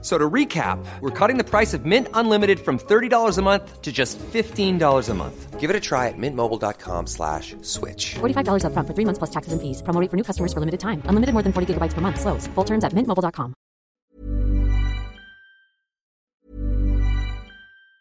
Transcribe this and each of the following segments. So to recap, we're cutting the price of Mint Unlimited from $30 a month to just $15 a month. Give it a try at mintmobile.com slash switch. $45 upfront for three months plus taxes and fees. Promo rate for new customers for limited time. Unlimited more than 40 gigabytes per month. Slows. Full terms at mintmobile.com.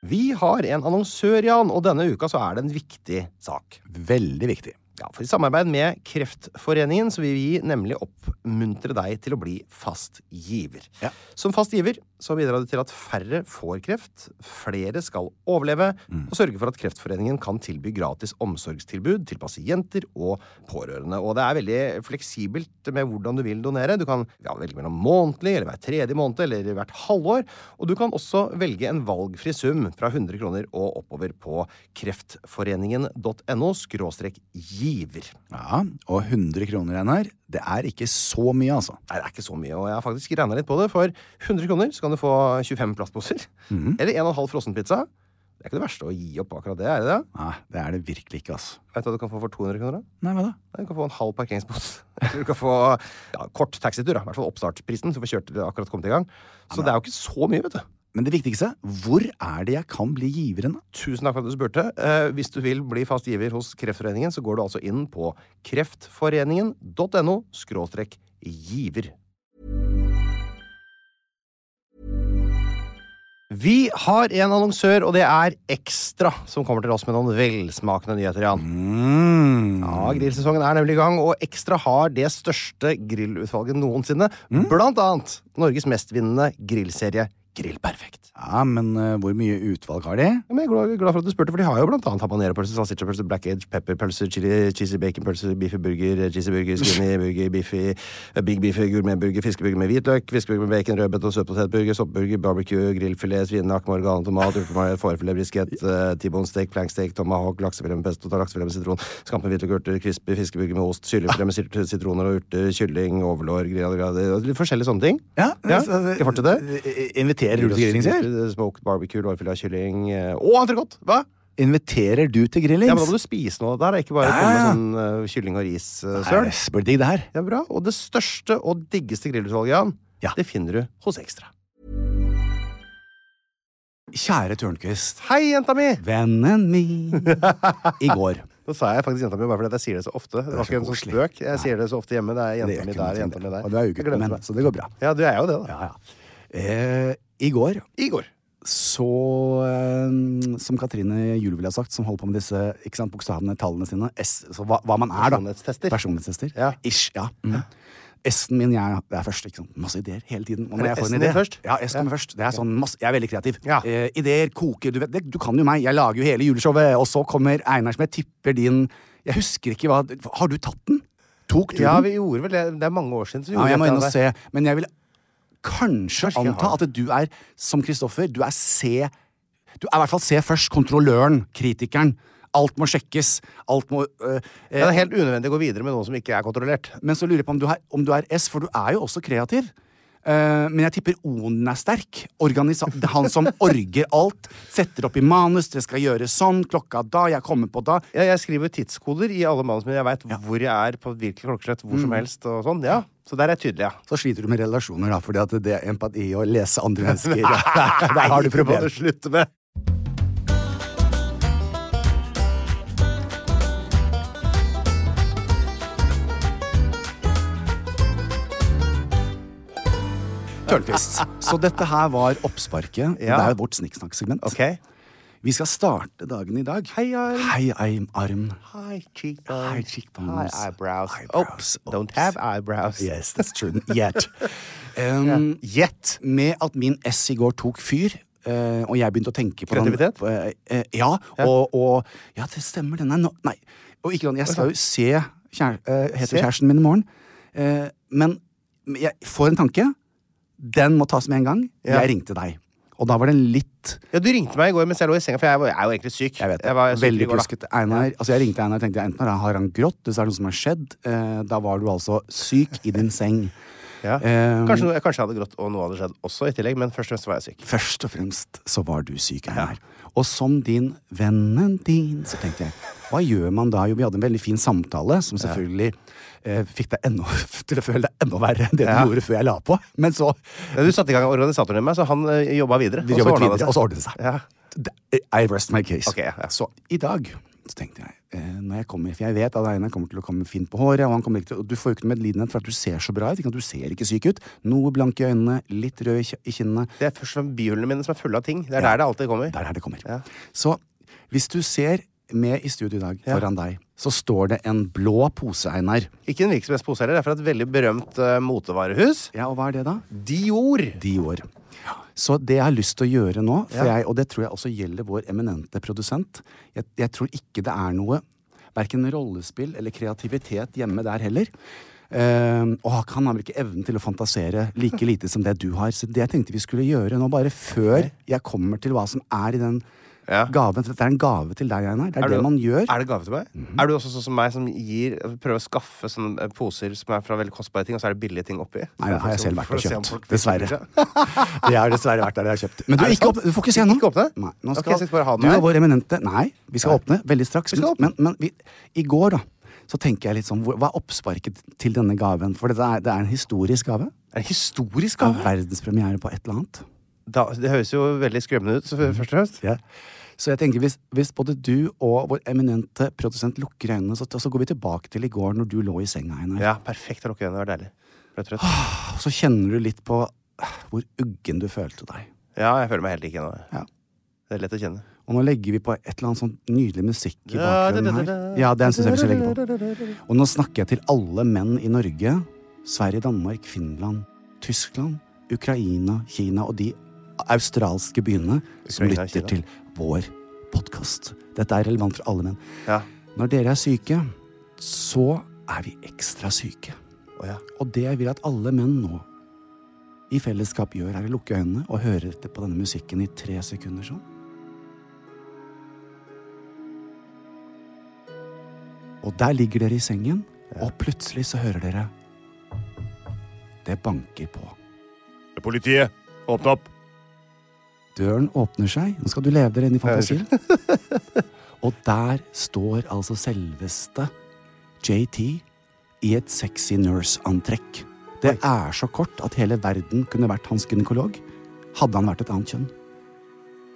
Vi har en annonsør, Jan, og denne uka så er det en viktig sak. Veldig viktig. Ja, for I samarbeid med Kreftforeningen så vil vi nemlig oppmuntre deg til å bli fast giver. Ja. Som fast giver så bidrar du til at færre får kreft, flere skal overleve, og sørge for at Kreftforeningen kan tilby gratis omsorgstilbud til pasienter og pårørende. Og det er veldig fleksibelt med hvordan du vil donere. Du kan ja, velge mellom månedlig, eller hver tredje måned, eller hvert halvår. Og du kan også velge en valgfri sum fra 100 kroner og oppover på kreftforeningen.no skråstrek giver. Ja, og 100 kroner igjen her, det er ikke så mye, altså. Nei, det er ikke så mye, og jeg har faktisk regna litt på det. For 100 kroner så kan du få 25 plastposer. Eller 1,5 frossenpizza. Det er ikke det verste å gi opp akkurat det, er det det? Nei, det er det virkelig ikke, altså. Vet du hva du kan få for 200 kroner? da? Nei, hva da? Nei, Du kan få en halv parkeringsbot. Du kan få ja, kort taxitur. da. I hvert fall oppstartsprisen. Så får kjørt til det akkurat kommet i gang. Så det er jo ikke så mye, vet du. Men det viktigste, hvor er det jeg kan bli giveren, da? Tusen takk for at du spurte. Eh, hvis du vil bli fast giver hos Kreftforeningen, så går du altså inn på kreftforeningen.no skråstrek giver. Vi har en annonsør, og det er Ekstra, som kommer til oss med noen velsmakende nyheter. Jan. Mm. Ja, Grillsesongen er nemlig i gang, og Ekstra har det største grillutvalget noensinne. Blant annet Norges mestvinnende grillserie Grill Perfekt. Ja, men eh, hvor mye utvalg har de? Ja, men jeg er glad, glad for at du spurte, for de har jo blant annet habaneropølse, salsichapølse, black edge, pepperpølse, chili, cheesy baconpølse, beefy burger, cheesy burger, skinny burger, beefy, eh, big beefy, gourmetburger, fiskeburger med hvitløk, fiskeburger med bacon, rødbet og søtpotetburger, soppburger, barbecue, grillfilet, svinenakk, morgan, tomat, urtemaré, fårefilet, brisket, uh, t-bone steak, planksteak, tomahawk, laksefilet med pesto, laksefilet med sitron, skampe med hvitløk, urter, crispy, fiskeburger med ost, syllefilet med sit- sitroner og urter, kylling, overlår, grillade, litt forskjellige sånne ting. Ja, altså, skal jeg fortsette? eh, Inviterer du til grilling, sier? Smoked barbecue, lårfilet av kylling eh, Og entrecôte! Hva? Inviterer du til grillings? Ja, men Da må du spise noe av det der, ikke bare Ja, komme ja. med sånn eh, kylling og ris-søl. Nei, det blir digg, det her. det er bra. Og det største og diggeste grillutvalget, Jan, Ja. det finner du hos Ekstra. Kjære Tørnquist. Hei, jenta mi! Vennen min. I går. Nå sa jeg faktisk jenta mi bare fordi at jeg sier det så ofte. Det var så ikke en sånn koselig. spøk. Jeg sier det så ofte hjemme. Det er Det jenta gjør mi ikke noe der, ting, jenta mi det. der. Og du er jo Jeg gutt, glemte men, meg. så det går bra. Ja, du er jo det, da. Ja, ja. Eh, I går I går. så eh, Som Katrine Juel ville ha sagt, som holder på med disse ikke sant, bokstavene, tallene sine. S, så hva, hva man er, da. Personlighetstester. Personlighetstester. Ja. Ish, ja. Mm. S-en min jeg, det er først. Ikke sant? Masse ideer hele tiden. Og Er det jeg får en S-en din idé- først? Ja, S kommer først. Det er sånn masse, jeg er veldig kreativ. Ja. Eh, ideer koker. Du, vet, det, du kan jo meg. Jeg lager jo hele juleshowet, og så kommer Einar som jeg tipper din Jeg husker ikke hva Har du tatt den? Tok du Ja, den? vi gjorde vel det. Det er mange år siden. Så Ja, gjorde jeg må vi inn og det. se. Men jeg vil kanskje, Kanskje jeg anta har. at du er, som Kristoffer, du er C Du er i hvert fall C først. Kontrolløren. Kritikeren. Alt må sjekkes. Alt må øh, eh, Ja, Det er helt unødvendig å gå videre med noe som ikke er kontrollert. Men så lurer jeg på om du er, om du er S, for du er jo også kreativ. Eh, men jeg tipper O-en er sterk. Organisa det er han som orger alt. Setter opp i manus. Det skal gjøres sånn. Klokka da. Jeg kommer på da. Ja, jeg skriver tidskoder i alle manus, men jeg veit hvor jeg er på hvilket klokkeslett hvor som helst. og sånn, ja. Så der er jeg tydelig, ja. Så sliter du med relasjoner, da, fordi at det er empati å lese andre mennesker. Der, der har du problemer. slutte med. Tørnquist. Så dette her var oppsparket. Ja. Det er jo vårt snikksnakksegment. Ok. Vi skal starte dagen i dag. Hei, arm. Hei, arm. arm. High cheekbones. High High cheekbones. eyebrows. Eyebrows. Oops, don't Oops. have eyebrows. Yes, that's true. Yet. Um, Yet. Med at min S i går tok fyr, eh, og jeg begynte å tenke på Kreativitet? Den, på, eh, eh, ja, Og, og Ja, det stemmer, den er nå Nei. Og ikke sant, jeg skal jo se kjær, eh, heter Se? kjæresten min i morgen, eh, men jeg får en tanke. Den må tas med en gang. Ja. Jeg ringte deg. Og da var den litt Ja, du ringte meg i går mens jeg lå i senga, for jeg var- jeg er jo egentlig syk. Jeg vet det. var syk i Veldig går, da. plusket. Einar, altså jeg ringte Einar og tenkte jeg, enten har han grått, eller så er det noe som har skjedd. Eh, da var du altså syk i din seng. Ja. Eh, kanskje, noe, kanskje jeg hadde grått, og noe hadde skjedd også i tillegg, men først og fremst var jeg syk. Først og fremst så var du syk, Einar. Og som din vennen din, så tenkte jeg hva gjør man da? Jo, vi hadde en veldig fin samtale som selvfølgelig eh, fikk deg enda, til å føle deg enda verre enn det du Ja. gjorde før jeg la på. Men så Ja, Du satte i gang organisatoren i meg, så han eh, jobba videre. vi og så jobbet ordnet det videre, seg. og så ordnet det seg. Ja. Det- I rest my case. Ok, ja. Så i dag så tenkte jeg eh, når jeg kommer, For jeg vet at Einar kommer til å komme fint på håret, og han kommer ikke til, og du får jo ikke noe medlidenhet for at du ser så bra ut. ikke sant? Du ser ikke syk ut. Noe blanke i øynene, litt rød i kje- i kinnene. Det er først og fremst bihulene mine som er fulle av ting. Det er der det alltid kommer. Det er der det kommer. Ja. Så hvis du ser med i studio i dag, foran deg, så står det en blå pose, Einar. Ikke en virksomhetspose heller, det er fra et veldig berømt eh, motevarehus. Ja, og hva er det da? Dior! Dior. Så det jeg har lyst til å gjøre nå, for Ja. jeg, og det tror jeg også gjelder vår eminente produsent Jeg, jeg tror ikke det er noe Verken rollespill eller kreativitet hjemme der heller. Um, og han- han har vel ikke evnen til å fantasere like lite som det du har. Så det jeg tenkte vi skulle gjøre nå, bare før jeg kommer til hva som er i den Ja. gaven For dette er en gave til deg, Einar. Det er, Er du- det man gjør. Mhm. Er det gave til meg? Er du også sånn som meg, som gir, prøver å skaffe sånne eh, poser som er fra veldig kostbare ting, og så er det billige ting oppi? Nei, det har jeg selv vært For å og se om kjøpt. folk- Dessverre. Jeg har dessverre vært der jeg har kjøpt. Men du, Er det ikke sant? åpne, du får ikke se nå. Ikke åpne? Nei, nå Ok, skal, så jeg skal bare ha den du her. er vår eminente Nei, vi skal åpne veldig straks. Vi skal åpne. Men, men vi, i går, da, så tenker jeg litt sånn hvor- Hva er oppsparket til denne gaven? For det er, det er en historisk gave. Er det historisk Det er gave? verdenspremiere på et eller annet. Da, det høres jo veldig skremmende ut, så Mhm. først og fremst. Så jeg tenker, hvis, hvis både du og vår eminente produsent lukker øynene, så, så går vi tilbake til i går når du lå i senga, Einar. Ja, perfekt å lukke øynene. Det var deilig. Ble trøtt. Og så kjenner du litt på eh, hvor uggen du følte deg. Ja, jeg føler meg helt lik ennå. jeg. Ja. Det er lett å kjenne. Og nå legger vi på et eller annet sånn nydelig musikk i Ja, bakgrunnen her. da-da-da-da. Ja, den syns jeg vi skal legge på. Og nå snakker jeg til alle menn i Norge, Sverige, Danmark, Finland, Tyskland, Ukraina, Kina og de australske byene Ukraina som og lytter Kina. til vår podkast. Dette er relevant for alle menn. Ja. Når dere er syke, så er vi ekstra syke. Å, ja. Og det jeg vil at alle menn nå i fellesskap gjør, er å lukke øynene og høre etter på denne musikken i tre sekunder sånn. Og der ligger dere i sengen, og plutselig så hører dere Det banker på. Politiet, åpne opp! Døren åpner seg. Nå skal du leve dere inn i fantasien. Og der står altså selveste JT i et sexy nurse-antrekk. Det er så kort at hele verden kunne vært hans gynekolog. Hadde han vært et annet kjønn.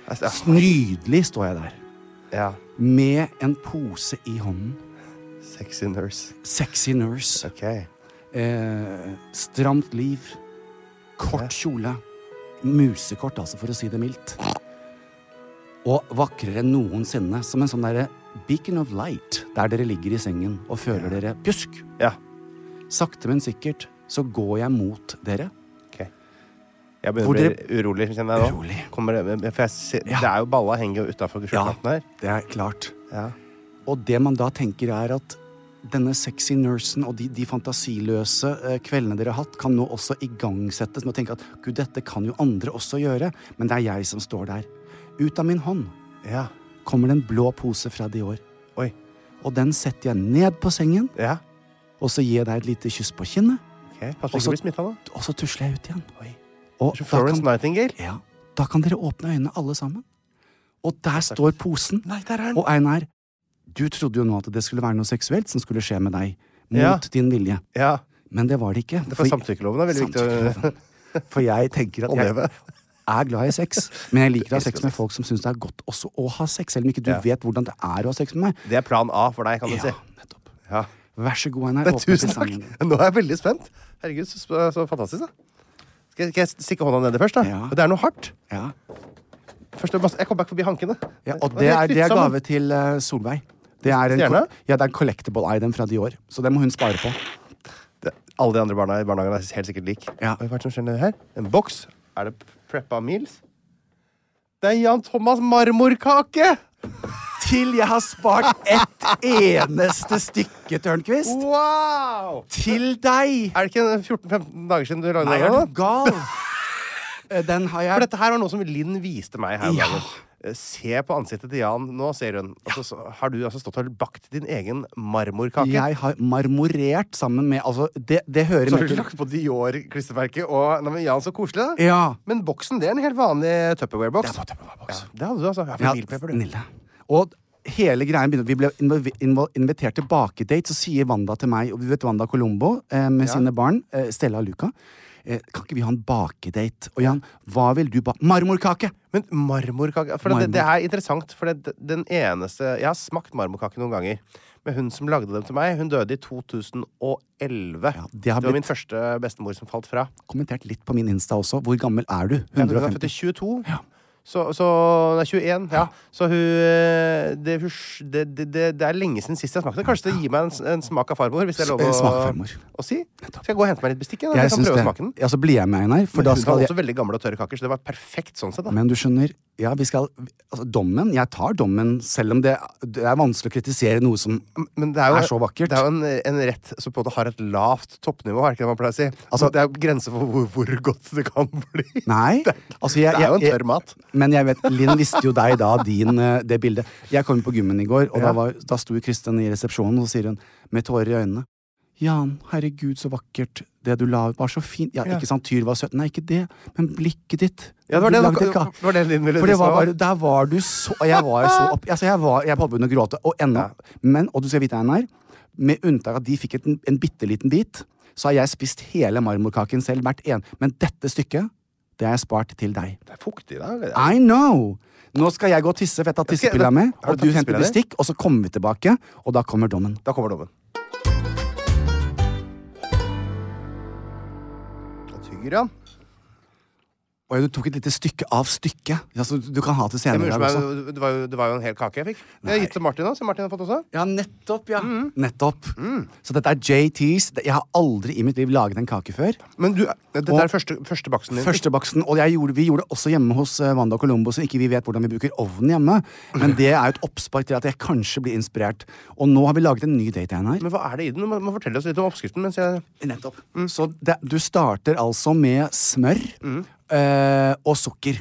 Altså, Nydelig står jeg der. ja. Med en pose i hånden. Sexy nurse. Sexy nurse. Ok. Eh, stramt liv. Kort kjole. Musekort, altså, for å si det mildt. Og vakrere enn noensinne, som en sånn derre beacon of light, der dere ligger i sengen og føler dere pjusk. Ja. Sakte, men sikkert så går jeg mot dere. ok. Jeg Hvor begynner å bli urolig, kjenner jeg nå. Urolig. Kommer det, for jeg ser, Ja. det er jo balla henger jo utafor skjortekanten her. Det er klart. Ja. Og det man da tenker, er at denne sexy nursen og de, de fantasiløse eh, kveldene dere har hatt, kan nå også igangsettes med å tenke at gud, dette kan jo andre også gjøre, men det er jeg som står der. Ut av min hånd Ja. kommer det en blå pose fra Dior, Oi. og den setter jeg ned på sengen, Ja. og så gir jeg deg et lite kyss på kinnet, Ok. Pass på ikke Også- å bli smitta nå. og så tusler jeg ut igjen. Oi. Og Så da Florence kan, Nightingale. ja, da kan dere åpne øynene alle sammen. Og der står posen. Nei, der er Og Einar, du trodde jo nå at det skulle være noe seksuelt som skulle skje med deg. Mot Ja. din vilje. Ja. Men det var det ikke. Det er for samtykkeloven er veldig viktig å Samtykkeloven. For jeg tenker at å jeg leve. er glad i sex, men jeg liker å ha elsker sex med sex. folk som syns det er godt også å ha sex, selv om ikke du Ja. vet hvordan det er å ha sex med meg. Det er plan A for deg, kan du Ja, si. nettopp. Ja. Vær så god, Einar. Men åpne tusen takk! presangen. Nå er jeg veldig spent. Herregud, så, sp- så fantastisk, da. Skal, jeg- skal jeg stikke hånda nedi først, da? Ja. Det er noe hardt. Ja. Først, jeg bare- jeg kom back forbi hankene. Ja, og det er, det er gave til eh, Solveig. Det er en, Stjerne? ja, det er en collectable item fra Dior, så det må hun spare på. Det- Alle de andre barna i barnehagen er helt sikkert lik. Ja. Oi, hva er det som skjer nedi her? En boks? Er det preppa meals? Det er Jan Thomas marmorkake! Til jeg har spart ett eneste stykke, Tørnquist. Wow! Til deg! Er det ikke en 14-15 dager siden du lagde Nei, den? er da? du gal? Eh, Den har For jeg dette her var noe som Linn viste meg her om Ja. dagen. Eh, Se på ansiktet til Jan nå, sier hun. Altså, så har du altså stått og bakt din egen marmorkake. Jeg har marmorert sammen med Altså, det, det hører Så har med du til lagt på Dior-klistremerket og Nei, men Jan, så koselig, da. Ja. Men boksen, det er en helt vanlig Tupperware-boks. Det er på Tupperware-boks. Ja, det hadde du, altså. Jeg har Ja, fått bilpepper, du. Nille. Og hele greien begynner Vi ble involv- involv- invitert til bakedate, så sier Wanda til meg, og vi vet Wanda Colombo eh, med sine barn, eh, Stella og Luca, eh, kan ikke vi ha en bakedate? Og Jan, hva vil du ba... Marmorkake! Men marmorkake For Det, Marmor. det er interessant, for det, den eneste Jeg har smakt marmorkake noen ganger. Men hun som lagde dem til meg, hun døde i 2011. det det har var blitt- min første bestemor som falt fra. Kommentert litt på min Insta også. Hvor gammel er du? Ja, men Hun er 150? født i 22. Ja. Så, så Nei, 21. Ja. Så hun eh, det, hun s- det, det, det, det er lenge siden sist jeg smakte. Kanskje det gir meg en, s- en smak av farmor? Hvis det er lov En å, smak av farmor. å si? Skal jeg gå og hente meg litt bestikk? igjen, Da? Jeg Jeg kan syns prøve det. å smake den. Ja, så blir jeg med, Einar. For da hun var skal jeg også veldig gamle og tørre kaker, så det var perfekt sånn sett. da Men du skjønner, ja, vi skal Altså, dommen Jeg tar dommen, selv om det, det er vanskelig å kritisere noe som Men det er jo, er så vakkert. Det er jo en, en rett som på en måte har et lavt toppnivå, er det ikke det man pleier å si? Altså- det er jo grenser for hvor, hvor godt det kan bli. Nei. Det, Altså, jeg, det er jo en jeg- tørr mat. Men jeg vet, Linn visste jo deg da, din, eh, det bildet. Jeg kom på gymmen i går, og da, var, da sto Kristin i resepsjonen, og så sier hun med tårer i øynene Jan, herregud, så vakkert. Det du la ut, var så fint. Ja, Ikke sant, Tyr var søt. Nei, ikke det, men blikket ditt. Ja, det var Du det- lagde det var- ga- det var det Linn ville For det vise var meg, bare, der var du så og Jeg var så opp altså, Jeg, var, jeg holdt på å begynne å gråte. Og ennå. Men, og du skal vite, Einar, med unntak av at de fikk et, en bitte liten bit, så har jeg spist hele marmorkaken selv, hvert en. Men dette stykket, det har jeg spart til deg. Det er fuktig, da. eller? I know! Nå skal jeg gå og tisse, for jeg tar tissepilla da- mi. har du Og du tatt henter tissepilla di? bestikk, og så kommer vi tilbake, og da kommer dommen. Da kommer dommen. Og tygger, Jan. Og du tok et lite stykke av stykket. Altså, du kan ha til Jeg må senere i dag unnskylde også. meg, det, var jo, det var jo en hel kake jeg fikk. Jeg har gitt til Martin òg, som Martin har fått også. Ja, nettopp, ja. Mm. Nettopp. Så dette er JTs. Jeg har aldri i mitt liv laget en kake før. Men du, dette Og- er første, første baksten din. Første baksten, og jeg gjorde, Vi gjorde det også hjemme hos eh, Wanda Colombo, så ikke vi vet hvordan vi bruker ovnen hjemme. Men det er jo et oppspark til at jeg kanskje blir inspirert. Og nå har vi laget en ny date, Einar. Men hva er det i den? Du må, må fortelle oss litt om oppskriften. Mens jeg... Mm. Nettopp. Mm. Så det, du starter altså med smør eh, og sukker,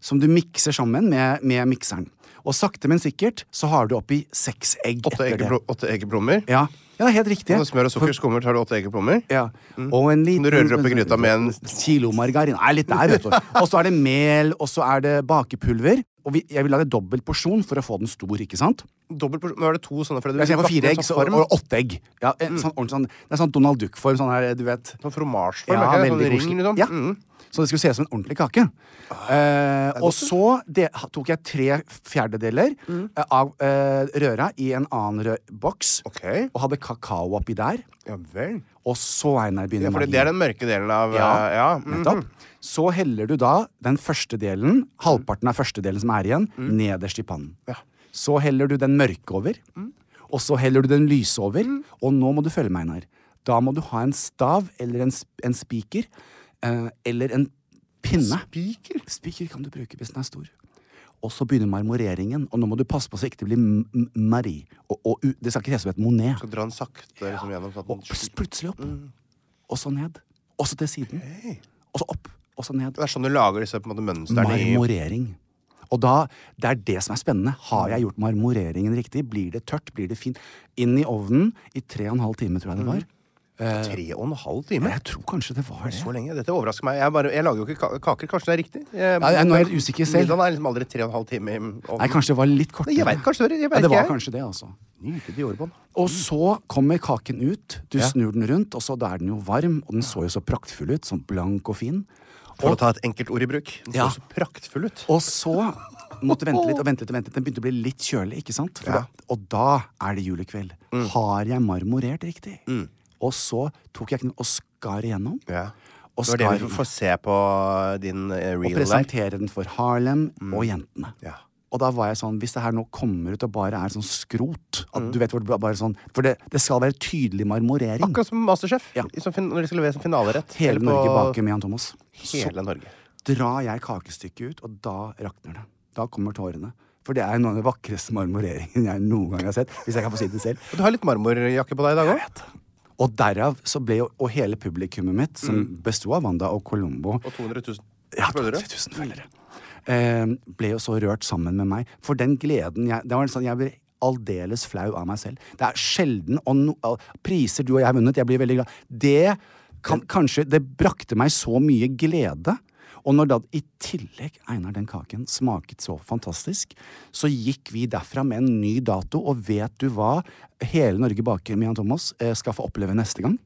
som du mikser sammen med, med mikseren. Og sakte, men sikkert så har du oppi seks egg. Åtte etter det. eggeblom- Åtte eggeplommer. Ja. ja, det er helt riktig. Og Smør og sukker skummer, tar du åtte eggeplommer. Ja. Og en liten Mm. Du rører opp i gryta med en Kilo margarin. Nei, litt der, vet du. Og så er det mel, og så er det bakepulver. Og vi, jeg vil lage dobbelt porsjon for å få den stor, ikke sant? dobbelt porsjon. Nå er det to sånne, Fredrik. Jeg ser på Du fire bakte Mm. egg en så, sånn og, form. og åtte egg. Ja, en, sånn, ordentlig sånn, det er sånn Donald Duck-form, sånn her, du vet. Sånn fromasjeform. Ja, er ikke det? veldig sånn ring, koselig. liksom. Ja. Mm. Ah, Så det skulle se ut som en ordentlig kake. Eh, og så det, tok jeg tre fjerdedeler Mm. eh, av eh, røra i en annen rød boks. Ok. Og hadde kakao oppi der. ja vel. Og så, Einar, begynner Ja, fordi det er den mørke delen av Ja, Mm-hmm. eh, ja. mm. nettopp. Så heller du da den første delen, halvparten av første delen som er igjen, nederst i pannen. Så heller du den mørke over, og så heller du den lyse over. Og nå må du følge meg, Einar. Da må du ha en stav eller en, sp- en spiker eh, eller en pinne. Spiker? Spiker kan du bruke hvis den er stor. Og så begynner marmoreringen, og nå må du passe på så ikke det blir m- m- Marie. Og, og u- det skal ikke se ut som et Monet. Skal dra den sakte liksom, gjennom. Sånn at Og den pss- plutselig opp. Mm. Og så ned. Og så til siden. Og så opp. Og så ned. Det er sånn du lager disse på en måte, mønstrene i Marmorering. Og da, Det er det som er spennende. Har jeg gjort marmoreringen riktig? Blir det tørt? Blir det fint? Inn i ovnen i tre og en halv time, tror jeg det var. Mm. tre og en halv time. Jeg tror kanskje det var Så det. lenge. Dette overrasker meg. Jeg, bare, jeg lager jo ikke ka- kaker. Kanskje det er riktig? Jeg, Nei, jeg- nå er jeg helt usikker selv. Middagen er liksom aldri tre og en halv time i ovnen. Nei, kanskje det var litt kortere. Nei, jeg vet kanskje det, jeg vet ja, det ikke, var jeg. kanskje det, altså. Nydelig Diorbånd. Og så kommer kaken ut. Du snur den rundt, og så da er den jo varm. Og den så jo så praktfull ut. Sånn blank og fin. For å ta et enkelt ord i bruk. Den Ja. så så praktfull ut. Og så måtte vente litt og vente litt. og vente litt. Den begynte å bli litt kjølig. ikke sant? For Da, og da er det julekveld. Mm. Har jeg marmorert riktig? Og så tok jeg kniven og skar igjennom. Ja. Og Det var det skar vi igjennom. får se på din eh, Og reel der. Mm. presentere den for Harlem og jentene. Ja. Og da var jeg sånn, hvis det her nå kommer ut og bare er sånn skrot Mm. at du vet hvor det bare- bare sånn, For det, det skal være tydelig marmorering. Akkurat som Masterchef. Ja. i- Som fin når de skal levere som finalerett. Hele Eller på Norge baker med Jan Thomas. Hele Norge. drar jeg kakestykket ut, og da rakner det. Da kommer tårene. For det er noe av den vakreste marmoreringen jeg noen gang har sett. Hvis jeg kan få si det selv. Og Du har litt marmorjakke på deg i dag òg. Og derav så ble jo og hele publikummet mitt, som besto av Wanda og Colombo, Og 200 000. Ja, takk, Følgere? 3000 følgere. Eh, ble jo så rørt sammen med meg. For den gleden jeg, det var en sånn, jeg ble aldeles flau av meg selv. Det er sjelden og no, al- priser du og jeg har vunnet. Jeg blir veldig glad. Det kan kanskje Det brakte meg så mye glede. Og når da i tillegg Einar den kaken smaket så fantastisk, så gikk vi derfra med en ny dato, og vet du hva hele Norge baker med Jan Thomas eh, skal få oppleve neste gang?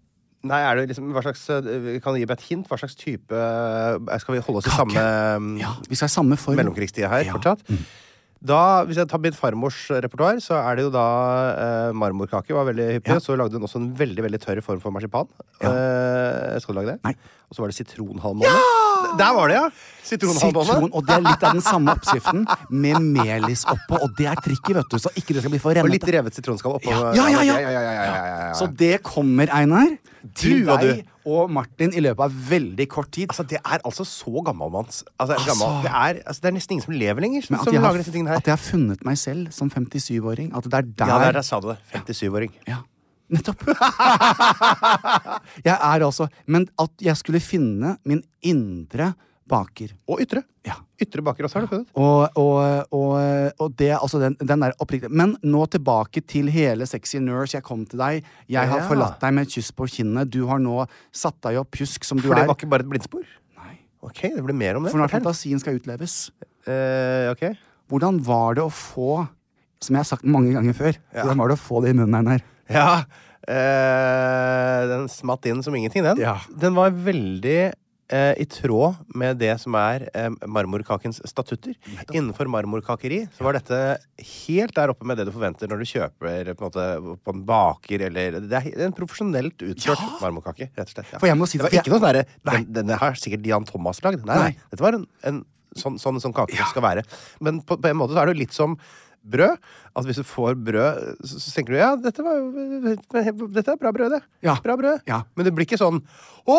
Nei, er det liksom, hva slags, eh, Kan du gi meg et hint? Hva slags type eh, Skal vi holde oss i Kake. samme eh, Ja, vi skal i samme form. mellomkrigstida her Ja. Mm. fortsatt? Da, Hvis jeg tar mitt farmors repertoar, så er det jo da eh, marmorkake var veldig hyppig. Ja. Så lagde hun også en veldig veldig tørr form for marsipan. Eh, skal du lage det? Nei. Og så var det sitronhalvmåne. Der var det, ja! Sitronhalvmåne. Sitron, og det er litt av den samme oppskriften, med melis oppå. Og det er tricky, vet du, så ikke det skal bli for Og litt rennete. revet sitronskall oppå. Ja, ja, ja, ja. ja, ja, ja, ja, ja, ja. Så det kommer, Einar, til Du og du. deg og Martin i løpet av veldig kort tid. Altså, det er altså så gammelmanns. Altså, Altså. gammel. det, er, altså, det er nesten ingen som lever lenger, som, Men at som jeg, lager har, disse tingene her. at jeg har funnet meg selv som 57-åring. At det er der Ja, der, der sa du det. 57-åring. Ja, nettopp. jeg er altså Men at jeg skulle finne min indre baker. Og ytre. Ja. Ytre baker også, har du funnet. Og, og, og, og det, altså den, den er oppriktig. Men nå tilbake til hele Sexy Nurse. Jeg kom til deg. Jeg har Ja. forlatt deg med et kyss på kinnet. Du har nå satt deg opp pjusk som du For det er. var ikke bare et blindspor? Nei. Ok, det blir mer om det. For når Fortell. fantasien skal utleves. Eh, ok. Hvordan var det å få Som jeg har sagt mange ganger før. Hvordan var det å få det i munnen her? Ja. eh, den smatt inn som ingenting, den. Ja. Den var veldig eh, i tråd med det som er eh, marmorkakens statutter. Innenfor marmorkakeri så var dette helt der oppe med det du forventer når du kjøper på en, måte, på en baker eller Det er en profesjonelt utført marmorkake, rett og slett. Ja. For jeg må si det var det- ikke noe sånn derre Nei. den, Denne har sikkert Jan Thomas lagd. Nei, nei. Nei. Dette var en, en sånn, sånn, sånn kake skal være. Men på, på en måte så er det jo litt som brød. At hvis du får brød, så, så tenker du ja, dette, var, jo- dette er bra brød, det. Ja. Bra brød. Ja. Men det blir ikke sånn Å,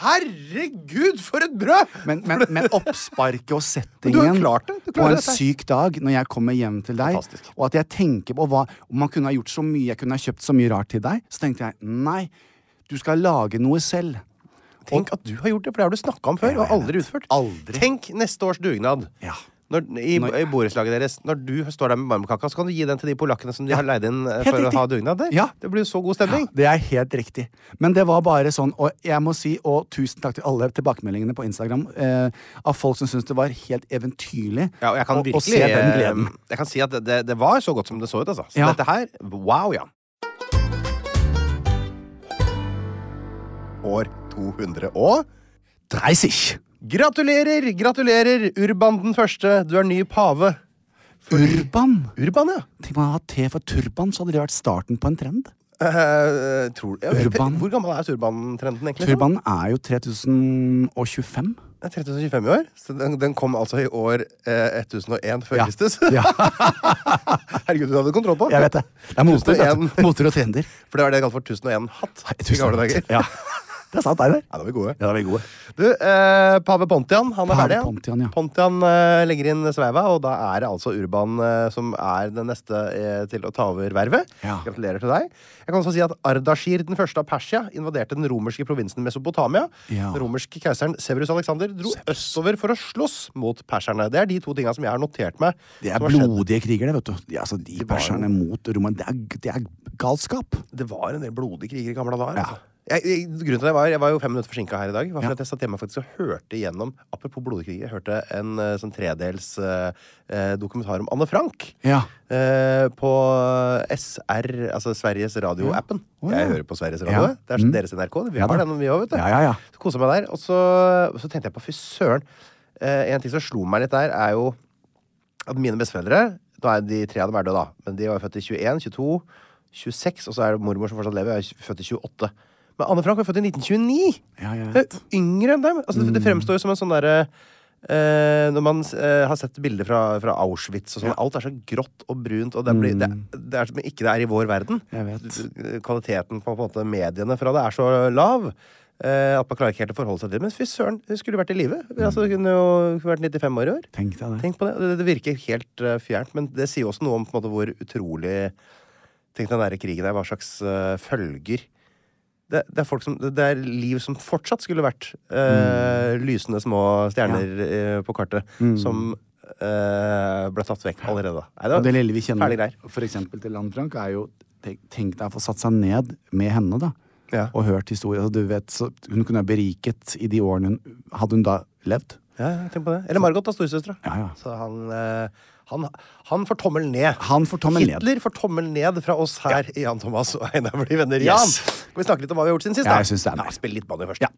herregud, for et brød! Men, men, men oppsparket Men du og har settingen klart det. Du på klarer en dette her. syk dag når jeg kommer hjem til deg, Fantastisk. og at jeg tenker på hva om Man kunne ha gjort så mye, jeg kunne ha kjøpt så mye rart til deg. Så tenkte jeg nei, du skal lage noe selv. Tenk at du har gjort det, for det har du snakka om før. Jeg og vet. aldri utført. Aldri. Tenk neste års dugnad. Ja. Når, I Når- i borettslaget deres. Når du står der med marmorkaka, så kan du gi den til de polakkene som de har leid inn eh, Helt for riktig. å ha dugnad der. Ja. Det blir jo så god stemning. Det er helt riktig. Men det var bare sånn, og jeg må si, og tusen takk til alle tilbakemeldingene på Instagram eh, av folk som syntes det var helt eventyrlig Ja, og jeg kan å- virkelig å se den gleden. eh, Jeg kan si at det- det, det var så godt som det så ut, altså. Så Ja. dette her Wow, ja. År 200 og Dreisig! Gratulerer! Gratulerer, Urban den første. Du er ny pave. Urban! Urban, ja. Tenk om jeg hadde T for turban, så hadde det vært starten på en trend. Eh, tror, ja, Urban. Hvor gammel er turbantrenden, egentlig? Turbanen er jo 3025. Det er 3025 i år. Så den, den kom altså i år eh, 1001 før Ja. Kristus. Ja. Herregud, du hadde kontroll på! Jeg vet det. Det er moter, vet du. 1001. moter og trender. For det var det jeg kalte for 1001-hatt. i gamle dager. Ja. Det er sant, Einar. Ja, da er vi gode. Ja, da er vi gode. Du, eh, Pave Pontian han er Pave ferdig. han. Pontian, ja. Pontian eh, legger inn sveiva, og da er det altså Urban eh, som er den neste eh, til å ta over vervet. Ja. Gratulerer til deg. Jeg kan også si at Ardashir den første av Persia invaderte den romerske provinsen Mesopotamia. Ja. Den romerske keiseren Severus Alexander dro østover for å slåss mot perserne. Det er de to tinga som jeg har notert meg. Det er som har skjedd. blodige kriger, det, vet du. De, altså, de var perserne mot Roman det, er- det er galskap. Det var en del blodige kriger i gamle dager. Altså. Jeg, jeg, grunnen til det var, jeg var jo fem minutter forsinka her i dag. Var for Ja. at Jeg satt hjemme faktisk og hørte igjennom Apropos blodige kriger. Jeg hørte en eh, sånn tredels eh, eh, dokumentar om Anne Frank. Ja. Eh, på SR, altså Sveriges radioappen. Å, ja. Jeg hører på Sveriges radio. Ja. Det er sånn Mm. deres NRK. Vi Ja har da. den, vi òg, vet du. Ja, ja, ja. Så koset jeg meg der. Og så, så tenkte jeg på fy søren. Eh, en ting som slo meg litt der, er jo at mine besteforeldre Nå er de tre av dem er døde, da. Men de var jo født i 21, 22, 26, og så er det mormor som fortsatt lever. Jeg er født i 28. Men Anne Frank var født i 1929! Ja, jeg Hun vet. er Yngre enn dem! Altså, det, det fremstår jo som en sånn derre eh, Når man eh, har sett bilder fra, fra Auschwitz og sånn, alt er så grått og brunt, og det, blir, det, det er som ikke det er i vår verden. Mm. Jeg vet. Du- Kvaliteten på, på en måte mediene fra det er så lav. eh, at man klarer ikke helt å forholde seg til det. Men fy søren, hun skulle vært i live. Altså, hun kunne jo kunne vært 95 år i år. Tenk deg det. Tenk på det. det. Det virker helt eh, fjernt, men det sier også noe om på en måte, hvor utrolig Tenk den der krigen der, hva slags eh, følger det, det, er folk som, det er liv som fortsatt skulle vært eh, Mm. lysende små stjerner eh, på kartet, som eh, ble tatt vekk allerede da. Nei, Og det lille vi kjenner Ferdig greier. for eksempel til Landfrank, er jo tenk, tenk deg å få satt seg ned med henne, da. Ja. Og hørt historier. Altså, du vet, så hun kunne ha beriket i de årene hun Hadde hun da levd? Ja, ja, tenk på det. Eller Margot, da, storesøstera. Ja, ja. Så han, eh, han, han får tommel ned. Han får tommel ned. Hitler får tommel ned fra oss her i Jan Thomas og Einar blir venner. Jan, Yes. skal vi snakke litt om hva vi har gjort siden sist? Ja, da? jeg synes det er nice. Spill litt banjo først. Ja.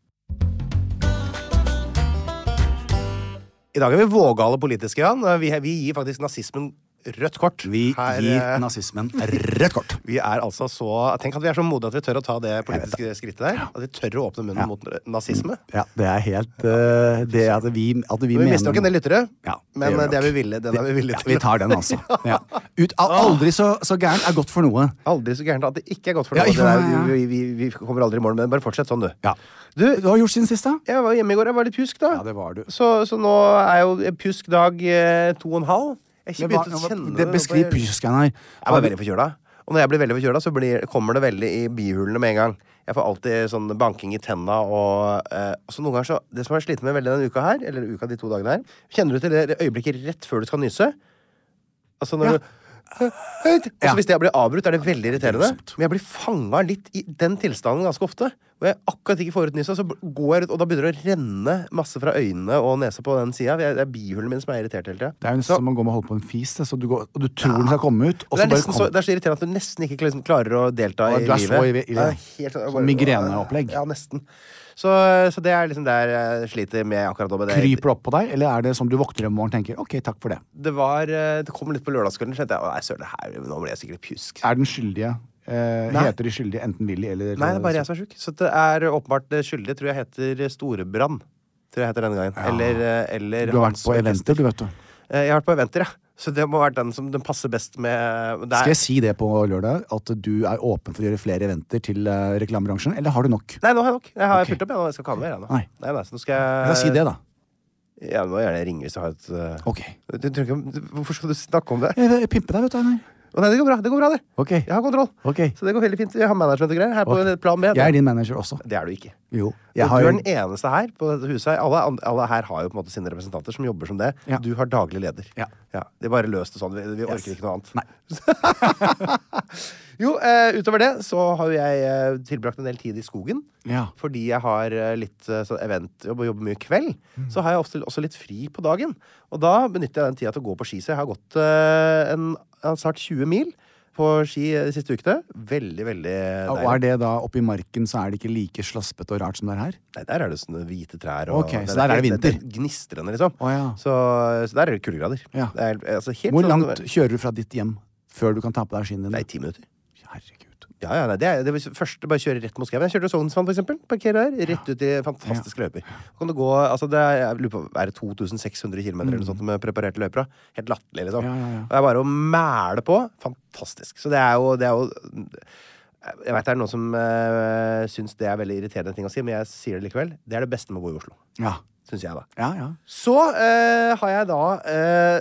I dag er vi vågale politiske, Jan. Vi, vi gir faktisk nazismen rødt kort. Vi Her, gir eh, nazismen rødt kort. vi er altså så, Tenk at vi er så modige at vi tør å ta det politiske skrittet der. At vi tør å åpne munnen Ja. mot nazisme. Ja, det er helt eh, Det at vi, at vi, Vi mister nok en del lyttere, Ja, det men gjør eh, det er nok. vi ville, den er vi villige Ah. ja, Vi tar den, altså. Ja. Ut, al- aldri så, så gærent er godt for noe. Aldri så gærent at det ikke er godt for Ja, noe. ja, Det ja. er- Vi, vi, vi kommer aldri i mål med det. Bare fortsett sånn, du. Ja. Du, Du har gjort siden sist, da? jeg var hjemme i går. Jeg var litt pjusk, da. Ja, det var du. Så, så nå er jo pjusk dag eh, to og en halv. Jeg har Det ikke var, begynt å kjenne det nå på- beskriv pysken her. Jeg var veldig forkjøla. Og når jeg blir veldig forkjøla, så blir, kommer det veldig i bihulene med en gang. Jeg får alltid sånn banking i tenna og eh, så noen ganger så, Det som jeg har slitt med veldig denne uka her, eller uka de to dagene her Kjenner du til det øyeblikket rett før du skal nyse? Altså når Ja. du og så Hvis jeg blir avbrutt, er det veldig irriterende. Men jeg blir fanga litt i den tilstanden ganske ofte. Hvor jeg akkurat ikke får ut nysa, så går jeg ut, og da begynner det å renne masse fra øynene og nesa på den sida. Det er bihulene mine som er irritert hele tida. Det er jo nesten som å gå med å holde på en fis. det, Så du går, og du tror den skal komme ut, Det og så er, bare nesten så, kommer det er så irriterende at du nesten ikke liksom klarer å delta i Ja, du er livet. så i- i- Det er helt sånn- sånn migreneopplegg. Ja, nesten. Så, så det er liksom der jeg sliter med akkurat nå. men Det, Kryper det opp på deg, eller er det som du våkner om morgenen og tenker OK, takk for det. det, var, eh, det kom litt på lørdagskvelden, kjente jeg. Å, nei, søren, det her, nå ble jeg sikkert pjusk. Er den skyldige eh, Nei. Heter de skyldige enten Willy eller Nei, det er bare jeg som er sjuk. Så det er åpenbart eh, skyldig. Tror jeg heter Storebrann. Tror jeg heter denne gangen. Eller, eh, eller Du har vært Hans på Orkester. eventer, du, vet du. Eh, Jeg har vært på eventer, ja. Så det må ha vært den som den passer best med det er- Skal jeg si det på lørdag? At du er åpen for å gjøre flere eventer til eh, reklamebransjen? Eller har du nok? Nei, nå har jeg nok. Jeg har Ok. fylt opp, jeg. nå. Jeg skal ikke ha noe mer. jeg, nå. Nei. Nei, nei, så nå skal jeg Skal jeg si det, da? Ja, du må gjerne ringe hvis du har et eh, OK. Du, du, trenger ikke- du, hvorfor skal du snakke om det? Jeg, jeg pimper deg, vet du, Einar. Å nei, det går bra, det går bra det. Ok. Jeg har kontroll. Ok. Så det går veldig fint. Jeg har management og greier. Her på Ok. plan B. Jeg er din manager også. Det er du ikke. Jo. Jeg Du har er den eneste her på dette huset. her. Alle, an- alle her har jo på en måte sine representanter som jobber som det. Ja. Du har daglig leder. Ja. Det er bare løst det sånn. Vi, vi orker ikke noe annet. Nei. Jo, eh, utover det så har jo jeg eh, tilbrakt en del tid i skogen. Ja. Fordi jeg har eh, litt eh, sånn eventjobb og jobber mye kveld, Mm. så har jeg ofte også litt fri på dagen. Og da benytter jeg den tida til å gå på ski, så jeg har gått eh, en, en snart 20 mil på ski eh, de siste ukene. Veldig, veldig Og deilig. er det da oppe i marken, så er det ikke like slaspete og rart som det er her? Nei, der er det sånne hvite trær. Og Ok, så der er det vinter. er gnistrende, liksom. Å, ja. så, så der er det kuldegrader. Ja. Det er, altså, helt Hvor sånn- langt kjører du fra ditt hjem før du kan ta på deg skiene Det er dine? i ti minutter. Herregud. Ja, ja, nei, det er, det er først bare kjøre rett mot skauen. Jeg kjørte Sognsvann, for eksempel. Parkerer her. Rett ut i fantastiske løyper. Kan du gå, altså det er, jeg lurer på, er det 2600 km eller noe sånt med preparerte løyper? da? Helt latterlig, liksom. Mm. Ja, ja, ja. Og det er bare å mæle på. Fantastisk. Så det er jo, det er jo Jeg veit det er noen som øh, syns det er veldig irriterende ting å si, men jeg sier det likevel. Det er det beste med å bo i Oslo. Ja. Syns jeg, da. Ja, ja. Så eh, har jeg da eh,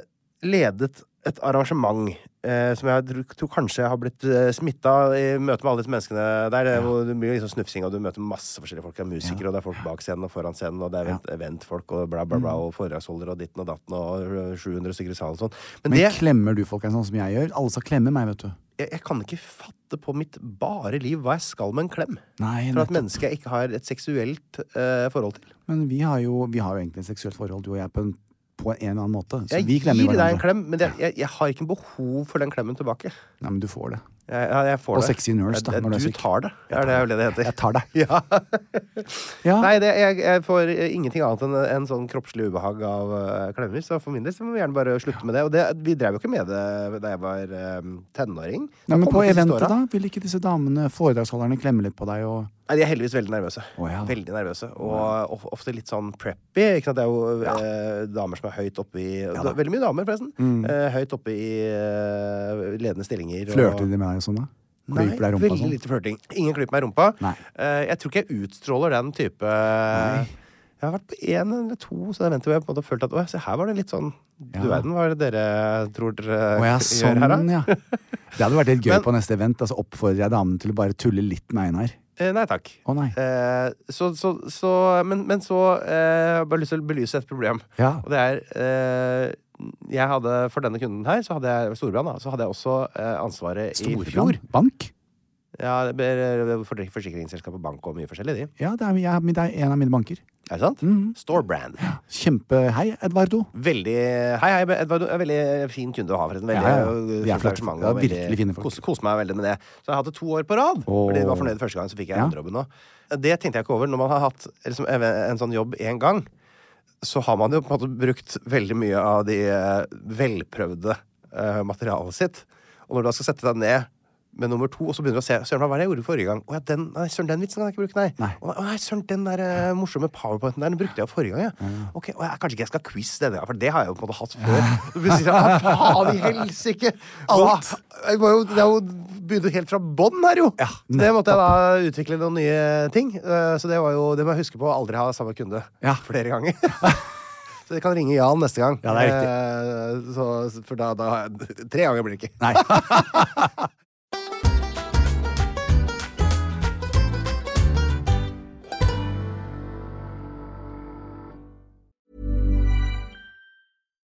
ledet et arrangement eh, som jeg tror, tror kanskje har blitt eh, smitta i møte med alle disse menneskene der. Det er jo det er mye liksom snufsing, og du møter masse forskjellige folk. Det er musikere, og det er folk bak scenen og foran scenen, og det er event- eventfolk og bla, bla, bla, Mm. og foredragsholdere og ditten og datten og eh, 700 stykker i salen og sånn. Men, Men det klemmer du folk en sånn som jeg gjør? Alle skal klemme meg, vet du. jeg, jeg kan ikke fatte på mitt bare liv hva jeg skal med en klem. Nei, For at nettopp. mennesker jeg ikke har et seksuelt eh, forhold til. Men vi har jo, vi har jo egentlig et seksuelt forhold, du og jeg, på en, på en eller annen måte. Så Jeg vi gir klemmer deg en hverandre. klem, men jeg, jeg, jeg har ikke behov for den klemmen tilbake. Nei, men du får det. Jeg, ja, jeg får Og det. sexy nurse, da, Jeg- når du er du syk. tar det. Det er det vel det det heter. Jeg tar deg. Ja. Ja. Nei, det, jeg, jeg får eh, ingenting annet enn en sånn kroppslig ubehag av eh, klemmer. Så for min del så må vi gjerne bare slutte med det. Og det, vi drev jo ikke med det da jeg var eh, tenåring. Det Nei, men har på kommet de siste eventet, åra. da? Vil ikke disse damene, foredragsholderne, klemme litt på deg og Nei, de er heldigvis veldig nervøse. Å, ja. Veldig nervøse Og of- ofte litt sånn preppy. Ikke sant? Det er jo eh, damer som er høyt oppe i da. Mm. Veldig mye damer, forresten. Eh, høyt oppe i eh, ledende stillinger. og- Flørter de med deg og sånn, da? Nei, Klyper deg i rumpa og veldig sånn? lite flørting. Ingen klyper meg i rumpa. Nei. Eh, jeg tror ikke jeg utstråler den type Jeg har vært på én eller to sånne eventer hvor jeg på en måte har følt at å, se her var det litt sånn Du verden, hva er det dere tror dere Å ja, gjør her, da? sånn, ja. Det hadde vært litt gøy Men- på neste event. Altså oppfordrer jeg damene til å bare tulle litt med Einar. Eh, nei takk. Å, nei. Eh, så, så, så, men, men så eh, har jeg bare lyst til å belyse et problem. Ja. Og det er eh, jeg hadde, For denne kunden her, så hadde jeg Storbrann, da, så hadde jeg også eh, ansvaret i fjor. Storbrann bank? Ja, det ber- for- Forsikringsselskapet Bank og mye forskjellig, de. Ja, det er, jeg, det er en av mine banker. Er det sant? Mhm. Storebrand. Kjempe... Hei, Edvardo. Veldig Hei, hei, Edvard. du er Veldig fin kunde å ha, forresten. Veldig Ja, ja. øh, Vi er stort flaks- engasjement, ja, og veldig- virkelig fine folk. Kos, kos meg veldig med det. Så jeg hadde to år på rad. Fordi jeg var fornøyd første gang, så fikk jeg Ja. andre jobben òg. Det tenkte jeg ikke over. Når man har hatt liksom, ev- en sånn jobb én gang, så har man jo på en måte brukt veldig mye av de eh, velprøvde eh, materialet sitt. Og når du da skal sette deg ned med nummer to, og så begynner du å se Søren, hva var det jeg gjorde forrige gang? Å ja, den, nei, søren, den vitsen kan jeg ikke bruke, nei. Nei. Å nei, søren, den der eh, morsomme powerpointen der, den brukte jeg forrige gang, ja. Ok, å, jeg, kanskje ikke jeg skal quiz denne gangen, for det har jeg jo på en måte hatt før. Du blir sånn, «Ja, faen i helsike! Alt! Jeg må jo, det er jo begynner jo helt fra bånn her, jo! Så det måtte jeg da utvikle noen nye ting. eh, Så det var jo, det må jeg huske på å aldri ha samme kunde Ja. flere ganger. Så dere kan ringe Jan neste gang. Ja, det er Eh, Så, for da, da har jeg Tre ganger blir det ikke. Nei.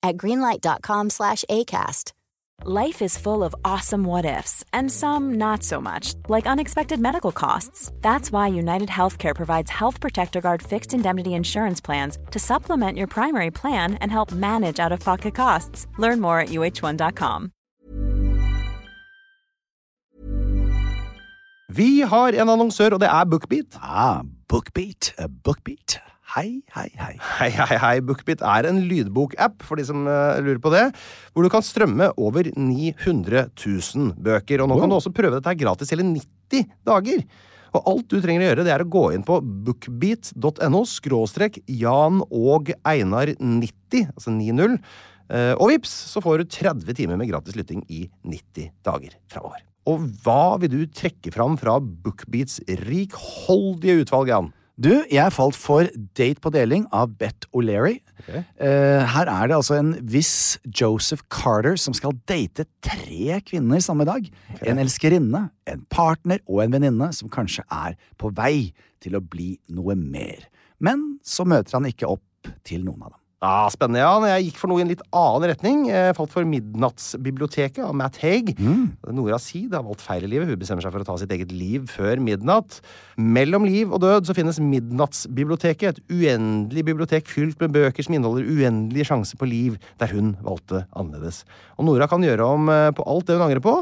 at greenlight.com slash ACAST. Life is full of awesome what ifs and some not so much, like unexpected medical costs. That's why United Healthcare provides Health Protector Guard fixed indemnity insurance plans to supplement your primary plan and help manage out of pocket costs. Learn more at uh1.com. Vi har en annonsør, og det er Bookbeat. Ah, bookbeat. eh, Bookbeat. Hei, hei, hei. Hei, hei, hei. Bookbit er en lydbokapp, for de som eh, lurer på det, hvor du kan strømme over 900 000 bøker. Og nå kan du også prøve dette her gratis hele 90 dager. Og alt du trenger å gjøre, det er å gå inn på bookbeat.no skråstrek Jan og Einar 90, altså 90, eh, og vips, så får du 30 timer med gratis lytting i 90 dager framover. Og hva vil du trekke fram fra Bookbeats rikholdige utvalg, Jan? Du, jeg falt for Date på deling av Bet O'Leary. Eh, her er det altså en viss Joseph Carter som skal date tre kvinner samme dag. En elskerinne, en partner og en venninne som kanskje er på vei til å bli noe mer. Men så møter han ikke opp til noen av dem. Ja, Spennende, Jan. Jeg gikk for noe i en litt annen retning. Jeg falt for Midnattsbiblioteket av Matt Haig. Nora Seed har valgt feil i livet. Hun bestemmer seg for å ta sitt eget liv før midnatt. Mellom liv og død så finnes Midnattsbiblioteket, et uendelig bibliotek fylt med bøker som inneholder uendelige sjanser på liv, der hun valgte annerledes. Og Nora kan gjøre om eh, på alt det hun angrer på,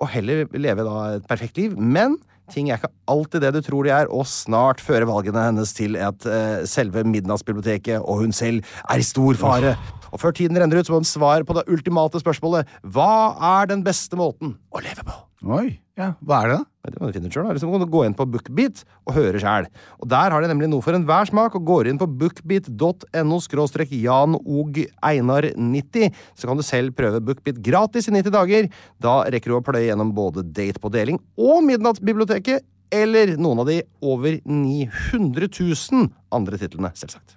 og heller leve da et perfekt liv. Men ting er ikke alltid det du tror de er, og snart fører valgene hennes til at eh, selve Midnattsbiblioteket og hun selv er i stor fare. Og før tiden renner ut, så må hun svare på det ultimate spørsmålet Hva er den beste måten å leve på? Oi, ja, hva er det da? Det må du finne ut selv, da. Eller så må du gå inn på Bookbeat og høre sjæl. Og der har de nemlig noe for enhver smak, og går inn på bookbeat.no skråstrek Jan Og Einar 90, så kan du selv prøve Bookbeat gratis i 90 dager. Da rekker du å pløye gjennom både Date på deling og Midnattsbiblioteket, eller noen av de over 900 000 andre titlene, selvsagt.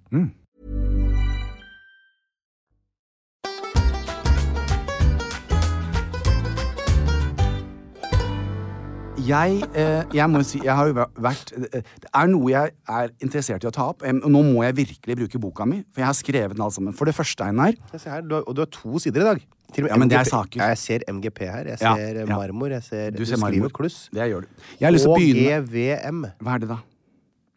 Jeg, eh, jeg må jo si, jeg har jo væ- vært eh, Det er noe jeg er interessert i å ta opp. Em, og Nå må jeg virkelig bruke boka mi, for jeg har skrevet den alt sammen. For det første, Einar, Se her, du har, og du har to sider i dag. Til og med Ja, men det er MGP. saker. Ja, Jeg ser MGP her. Jeg Ja, ser eh, ja. marmor. Jeg ser, Du ser marmor. skriver kluss. det gjør du. Jeg har lyst til å begynne GVM. Hva er det, da?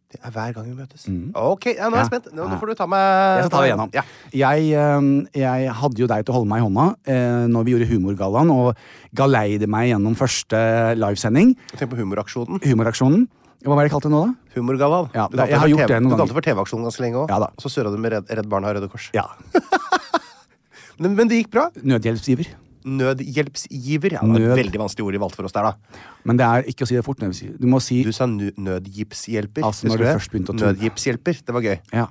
Det er hver gang vi møtes. Ok, ja, Nå er jeg Mm. Ja. spent. Nå Ja. får du ta meg Jeg skal ta deg gjennom. Ja. Jeg, eh, jeg hadde jo deg til å holde meg i hånda eh, når vi gjorde Humorgallaen, og galeide meg gjennom første livesending, Tenk på humoraksjonen. Humoraksjonen. Hva var det jeg kalte det nå, da? Humorgallaen. Ja, du det- kalte jeg har for gjort TV det noen du kalte ganger. for TV-aksjonen ganske lenge òg. Ja da. og så surra du med Redd, Redd Barna og Røde Kors. Ja. Men, men det gikk bra. Nødhjelpsgiver. Nødhjelpsgiver. Ja, det var Nød- et veldig vanskelig ord de valgte for oss der, da. Men det er ikke å si det fort. nødhjelpsgiver. Du må si Du sa nu- nødgipshjelper. Altså, når Husker du det? først begynte å tulle. Nødgipshjelper. Det var gøy. Ja.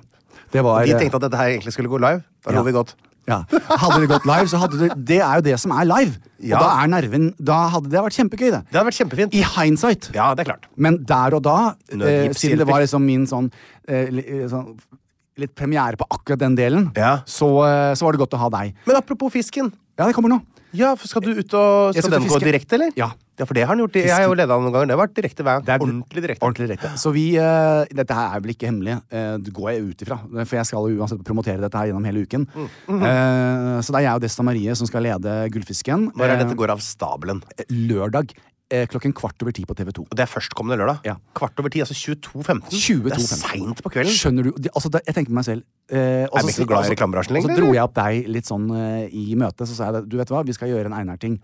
Det var De tenkte at dette her egentlig skulle gå live. Da Ja. lo vi godt. Ja. Hadde det gått live, så hadde det Det er jo det som er live. Ja. Og da er nerven Da hadde det vært kjempegøy, det. Det hadde vært kjempefint. I hindsight. Ja, det er klart. Men der og da, eh, Nødgips siden det hjelper. var liksom min sånn, eh, li- eh, sånn Litt premiere på akkurat den delen, Ja. så, eh, så var det godt å ha deg. Men apropos fisken. Ja, det kommer nå. Ja, for Skal du ut og Jeg Skal skal til den gå fiske. direkte, eller? Ja. for det har han gjort. Jeg har jo leda han noen ganger. Det har vært direkte hver gang. Ordentlig direkte. Ordentlig direkte. Så vi eh, Dette her er vel ikke hemmelig, eh, det går jeg ut ifra. For jeg skal jo uansett promotere dette her gjennom hele uken. Mm. Eh, så det er jeg og Desta Marie som skal lede Gullfisken. Når Mm-hmm. er Eh, dette går av stabelen? Lørdag eh, klokken kvart over ti på TV 2. Og det er førstkommende lørdag. Ja. Kvart over ti, altså 22.15. Det er 22.15. seint på kvelden. Skjønner du? De, altså, det, jeg tenker på meg selv. Eh, og Er vi så- ikke så glad i og så- reklamebransjen Og lenger, så dro eller? jeg opp deg litt sånn eh, i møte, så sa jeg det. Du vet hva, vi skal gjøre en Einar-ting.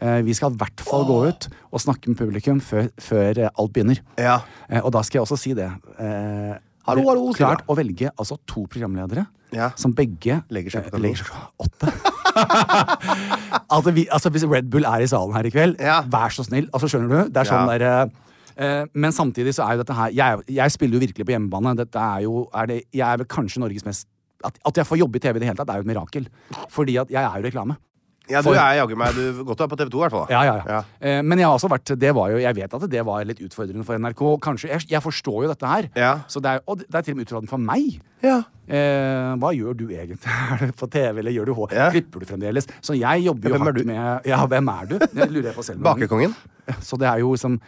Eh, vi skal i hvert fall gå ut og snakke med publikum før, før eh, alt begynner. Ja. Eh, og da skal jeg også si det. Eh, Hallo, hallo, sier klart jeg. å velge altså to programledere Ja. som begge Legger seg på eh, klokka legger seg klokka åtte. altså, vi, altså, hvis Red Bull er i salen her i kveld, Ja. vær så snill. Altså, skjønner du? Det er sånn Ja. der eh, eh, men samtidig så er jo dette her Jeg, jeg spiller jo virkelig på hjemmebane. Dette er jo, er det, jeg er vel kanskje Norges mest at, at jeg får jobbe i TV i det hele tatt, er jo et mirakel. Fordi at jeg er jo reklame. ja, du For- er jaggu meg du, Godt du er på TV 2, i hvert fall. da. Ja, ja, ja. Ja. Eh, Men jeg har også vært det var jo, jeg vet at det var litt utfordrende for NRK. Kanskje, Jeg, jeg forstår jo dette her. Ja. Så det er, og det er til og med utfordrende for meg. Ja. Eh, hva gjør du egentlig? Er det på TV, eller gjør du H? Ja. Klipper du fremdeles? Så jeg jobber jo Ja, hvem er hardt du? med Ja, hvem er du? Det lurer jeg på selv. noen ganger. Bakekongen. Så det er jo liksom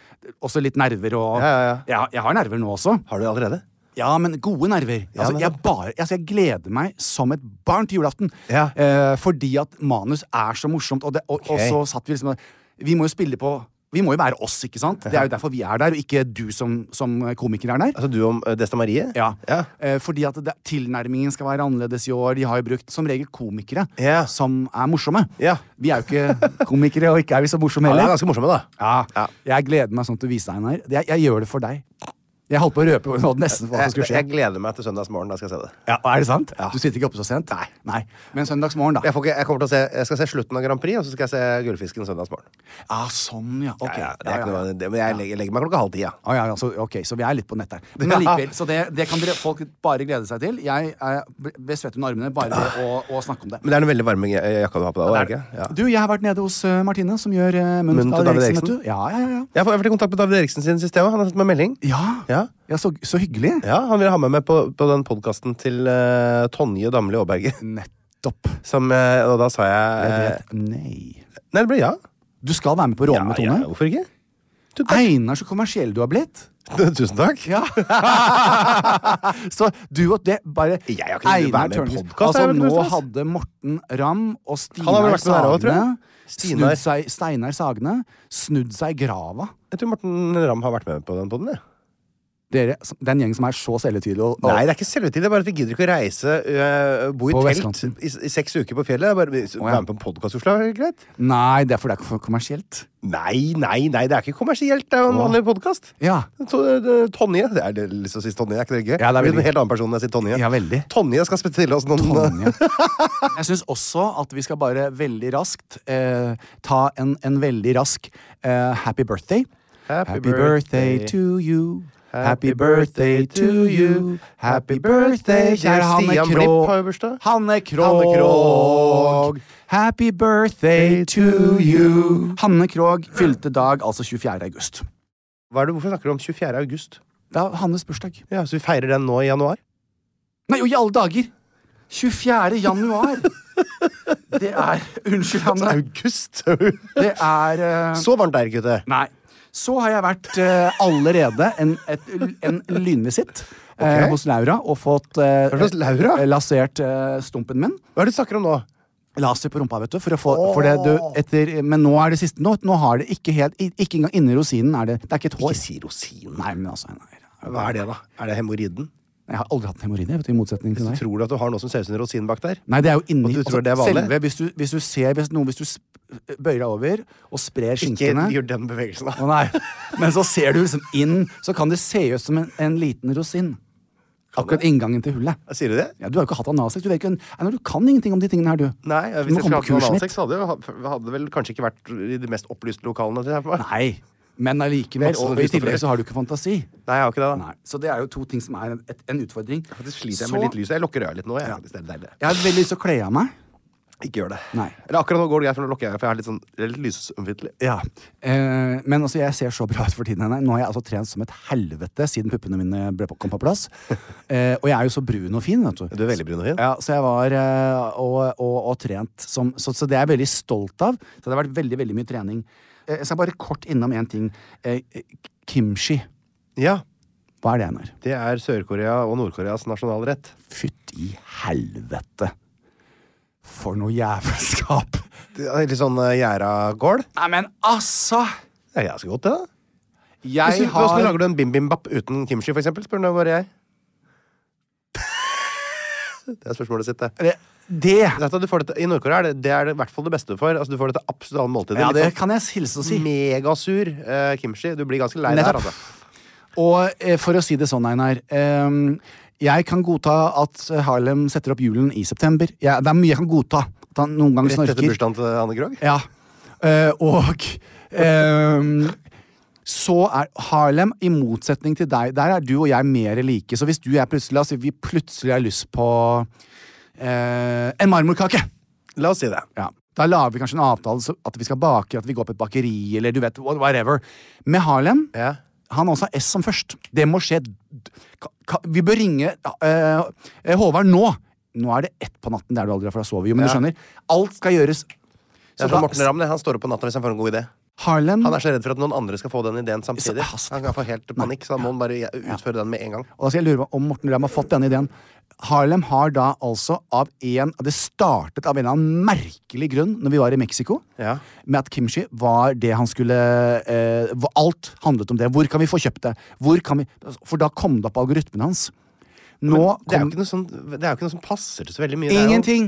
også litt nerver og Ja, ja, ja. Jeg, jeg har nerver nå også. Har du det allerede? Ja, men gode nerver. Ja, altså, men- jeg, bare, altså, jeg gleder meg som et barn til julaften. Ja. Eh, fordi at manus er så morsomt, og, det, og, Ok. og så satt vi liksom Vi må jo spille på Vi må jo være oss, ikke sant? Det er jo derfor vi er der, og ikke du som, som komiker er der. Altså du om eh, Desta Marie? Ja. Ja. Eh, fordi at det, tilnærmingen skal være annerledes i år. De har jo brukt som regel komikere Ja. som er morsomme. Ja. Vi er jo ikke komikere, og ikke er vi så morsomme Ja, det er heller. ganske morsomme, da. Ja, Ja. Jeg gleder meg sånn til å vise deg, Einar. Jeg, jeg gjør det for deg. Jeg holdt på å røpe nå nesten hva som Jeg, skulle skje. jeg gleder meg til søndagsmorgen. Da skal jeg se det. Ja, er det sant? Ja. Du sitter ikke oppe så sent? Nei. Men søndagsmorgen, da. Jeg, får ikke, jeg, kommer til å se, jeg skal se slutten av Grand Prix, og så skal jeg se Gullfisken søndagsmorgen. Ah, sånn, ja. Ok. Ja, ja, det er Ja, ikke ja, ja. noe, det, men jeg legger, legger meg klokka halv ti, ja. Ah, ja, ja, så, ok, så vi er litt på nett der. Men likevel, så det, det kan dere, folk bare glede seg til. Jeg er ved svett under armene bare Ah. ved å, å snakke om det. Men det er den veldig varme je- jakka du har på deg òg, er det ikke? Ja. Du, jeg har vært nede hos eh, Martine, som gjør uh, munn Munn til David Eriksen. vet du. Ja, ja, ja. Jeg har vært i kontakt med David Eriksen sin sist, jeg òg. Han har sendt meg melding. ja. Ja. Eh. ja så, så hyggelig. Ja, Han ville ha meg med på, på den podkasten til eh, Tonje Damli Aaberge. Nettopp. Som, eh, og da sa jeg, Jeg eh, vet. Nei. Nei, det ble ja. Du skal være med på Råne med ja, Tone. ja, hvorfor ikke? Einar, så kommersiell du har blitt. Tusen takk. Ja. så du og det bare Jeg har ikke lyst til å være med i Tørnquist. podcast, Altså, jeg har ikke nå lyst til, ass. hadde Morten Ramm og Han har Steinar vel vært med der også, tror jeg. Sagne Stinar. snudd seg, Steinar Sagne snudd seg i grava. Jeg tror Morten Ramm har vært med på den poden. jeg. Dere, den gjengen som er så selvhøytidelig og, og Nei, det er ikke selvhøytid. Det er bare at vi gidder ikke å reise, øh, bo i På telt vestkanten. i, i seks uker på fjellet. Det er Bare, vi- ja. Være med på en podkast, Oslo, er det greit? Nei, det er for det er ikke for kommersielt. Nei, nei, nei, det er ikke kommersielt. Det er jo en vanlig podkast. Ja. Tonje. Det er det jeg har lyst til å si Tonje, er ikke det gøy? Ja, det er blir en veldig helt annen person når jeg sier Tonje. Ja, veldig. Tonje skal spille oss noen Tonje. Jeg syns også at vi skal bare veldig raskt eh, ta en, en veldig rask eh, happy birthday. Happy birthday. to you. Happy birthday to you. Happy birthday, kjære Hanne Stian Blipp har jo Krogh. bursdag. Hanne Hanne Krogh. Krogh. Happy birthday to you. Hanne Krogh fylte dag, altså 24. august. Hva er det, hvorfor snakker du om 24. august? Det er Hannes bursdag. Ja, Så vi feirer den nå i januar? Nei, og i alle dager! 24. januar. Det er Unnskyld, Hanne. Sånn August! Det er eh, Så varmt der, gutter. Nei. Så har jeg vært eh, allerede en, et, en lynvisitt eh, Ok. hos Laura og fått eh, Hva slags Laura? eh, lasert eh, stumpen min. Hva er det du snakker om nå? Laser på rumpa, vet du. For å få, for det, du etter, men nå er det siste. Nå, nå har det ikke helt i- Ikke engang inni rosinen er det Det er ikke et hår. si rosin. Nei, men altså nei, nei. Hva er det, da? Er det hemoroiden? Jeg har aldri hatt hemoroider, vet du, i motsetning til Hvis du deg. tror du at du har noe som ser ut som en rosin bak der? Nei, det er jo inni altså, Og du tror det er vanlig? Selve, hvis du, hvis du ser hvis noen Hvis du sp- bøyer deg over og sprer Ikke skinkene gjør den bevegelsen, da. Å nei. Men så ser du liksom inn, så kan det se ut som en, en liten rosin. Akkurat inngangen til hullet. Sier du det? Ja, du har jo ikke hatt analsex. Du, vet ikke, nei, nei, du kan ingenting om de tingene her, du. Nei, Du må komme hvis jeg skulle på hatt noe kursen analsex, så hadde jeg jo- hadde det vel kanskje ikke vært i de mest opplyste lokalene. til her for meg. Nei. Men allikevel. Masse Og i analyser for tillegg det. så har du ikke fantasi. Nei, jeg har ikke det. da. Nei. Så det er jo to ting som er en, et, en utfordring. Faktisk sliter jeg med litt lys. Jeg lukker øya litt nå. Jeg, faktisk, det er deilig. Jeg har veldig lyst til å kle av meg. Ikke gjør det. Nei. Eller akkurat nå går det greit, for nå lukker jeg øya, for jeg er litt sånn jeg er litt lysømfintlig. Ja, eh, Men altså, jeg ser så bra ut for tiden. Henrik. Nå har jeg altså trent som et helvete siden puppene mine ble på, kom på plass. Eh, og jeg er jo så brun og fin. vet du. Du er veldig brun og fin. Ja, Så jeg var eh, og, og, og trent som så, så det er jeg veldig stolt av. Så det har vært veldig veldig mye trening. Eh, jeg skal bare kort innom én ting. Eh, eh, kimchi. Ja. Hva er det, Einar? Det er Sør-Korea og Nord-Koreas nasjonalrett. Fytti helvete! For noe jævelskap! Det er Litt sånn uh, gjæra-gård. Nei, men altså! Ja, jeg skal godt det, da. Jeg Hvis du- Hvordan har lager du en bimbimbap uten kimchi, for eksempel? Spør nå bare jeg. Det er spørsmålet sitt, det. Det, det Dette, du får dette, I Nord-Korea er det, det er det i hvert fall det beste du får. Altså, du får dette absolutt alle måltider. Ja, Litt det sånn kan jeg hilse og si. Megasur eh, kimchi. Du blir ganske lei der, Nettopp. altså. Og eh, for å si det sånn, Einar. ehm, jeg kan godta at Harlem setter opp julen i september. Jeg- det er mye jeg kan godta. At han noen ganger Rett etter snorker. bursdagen til Anne Krogh. Ja. Eh, og ehm, så er Harlem, i motsetning til deg, der er du og jeg mer like. Så hvis du og jeg plutselig, altså, vi plutselig har lyst på eh, en marmorkake La oss si det. ja. Da lager vi kanskje en avtale så at vi skal bake, at vi går på et bakeri, eller du vet, what- whatever. Med Harlem Ja. Han også har S som først. Det må skje d- ka- ka- Vi bør ringe eh, eh, Håvard nå! Nå er det ett på natten. Det er du aldri, for da sover vi jo, men du Ja. skjønner. Alt skal gjøres. Det Så er som da- Morten Ramm, det. han står opp på natta hvis han får en god idé. Harlem Han er så redd for at noen andre skal få den ideen samtidig. Så- Han kan få helt panikk, så da må han bare utføre den med en gang. Og da skal jeg lure meg om Morten Ramm har fått denne ideen. Harlem har da altså av en Det startet av en eller annen merkelig grunn når vi var i Mexico. Ja. Med at kimchi var det han skulle eh, hva- Alt handlet om det. Hvor kan vi få kjøpt det? Hvor kan vi, for da kom det opp på algoritmen hans. Nå Det er jo kom ikke noe, sånn, det er jo ikke noe som passer til så veldig mye. Det er jo- ingenting!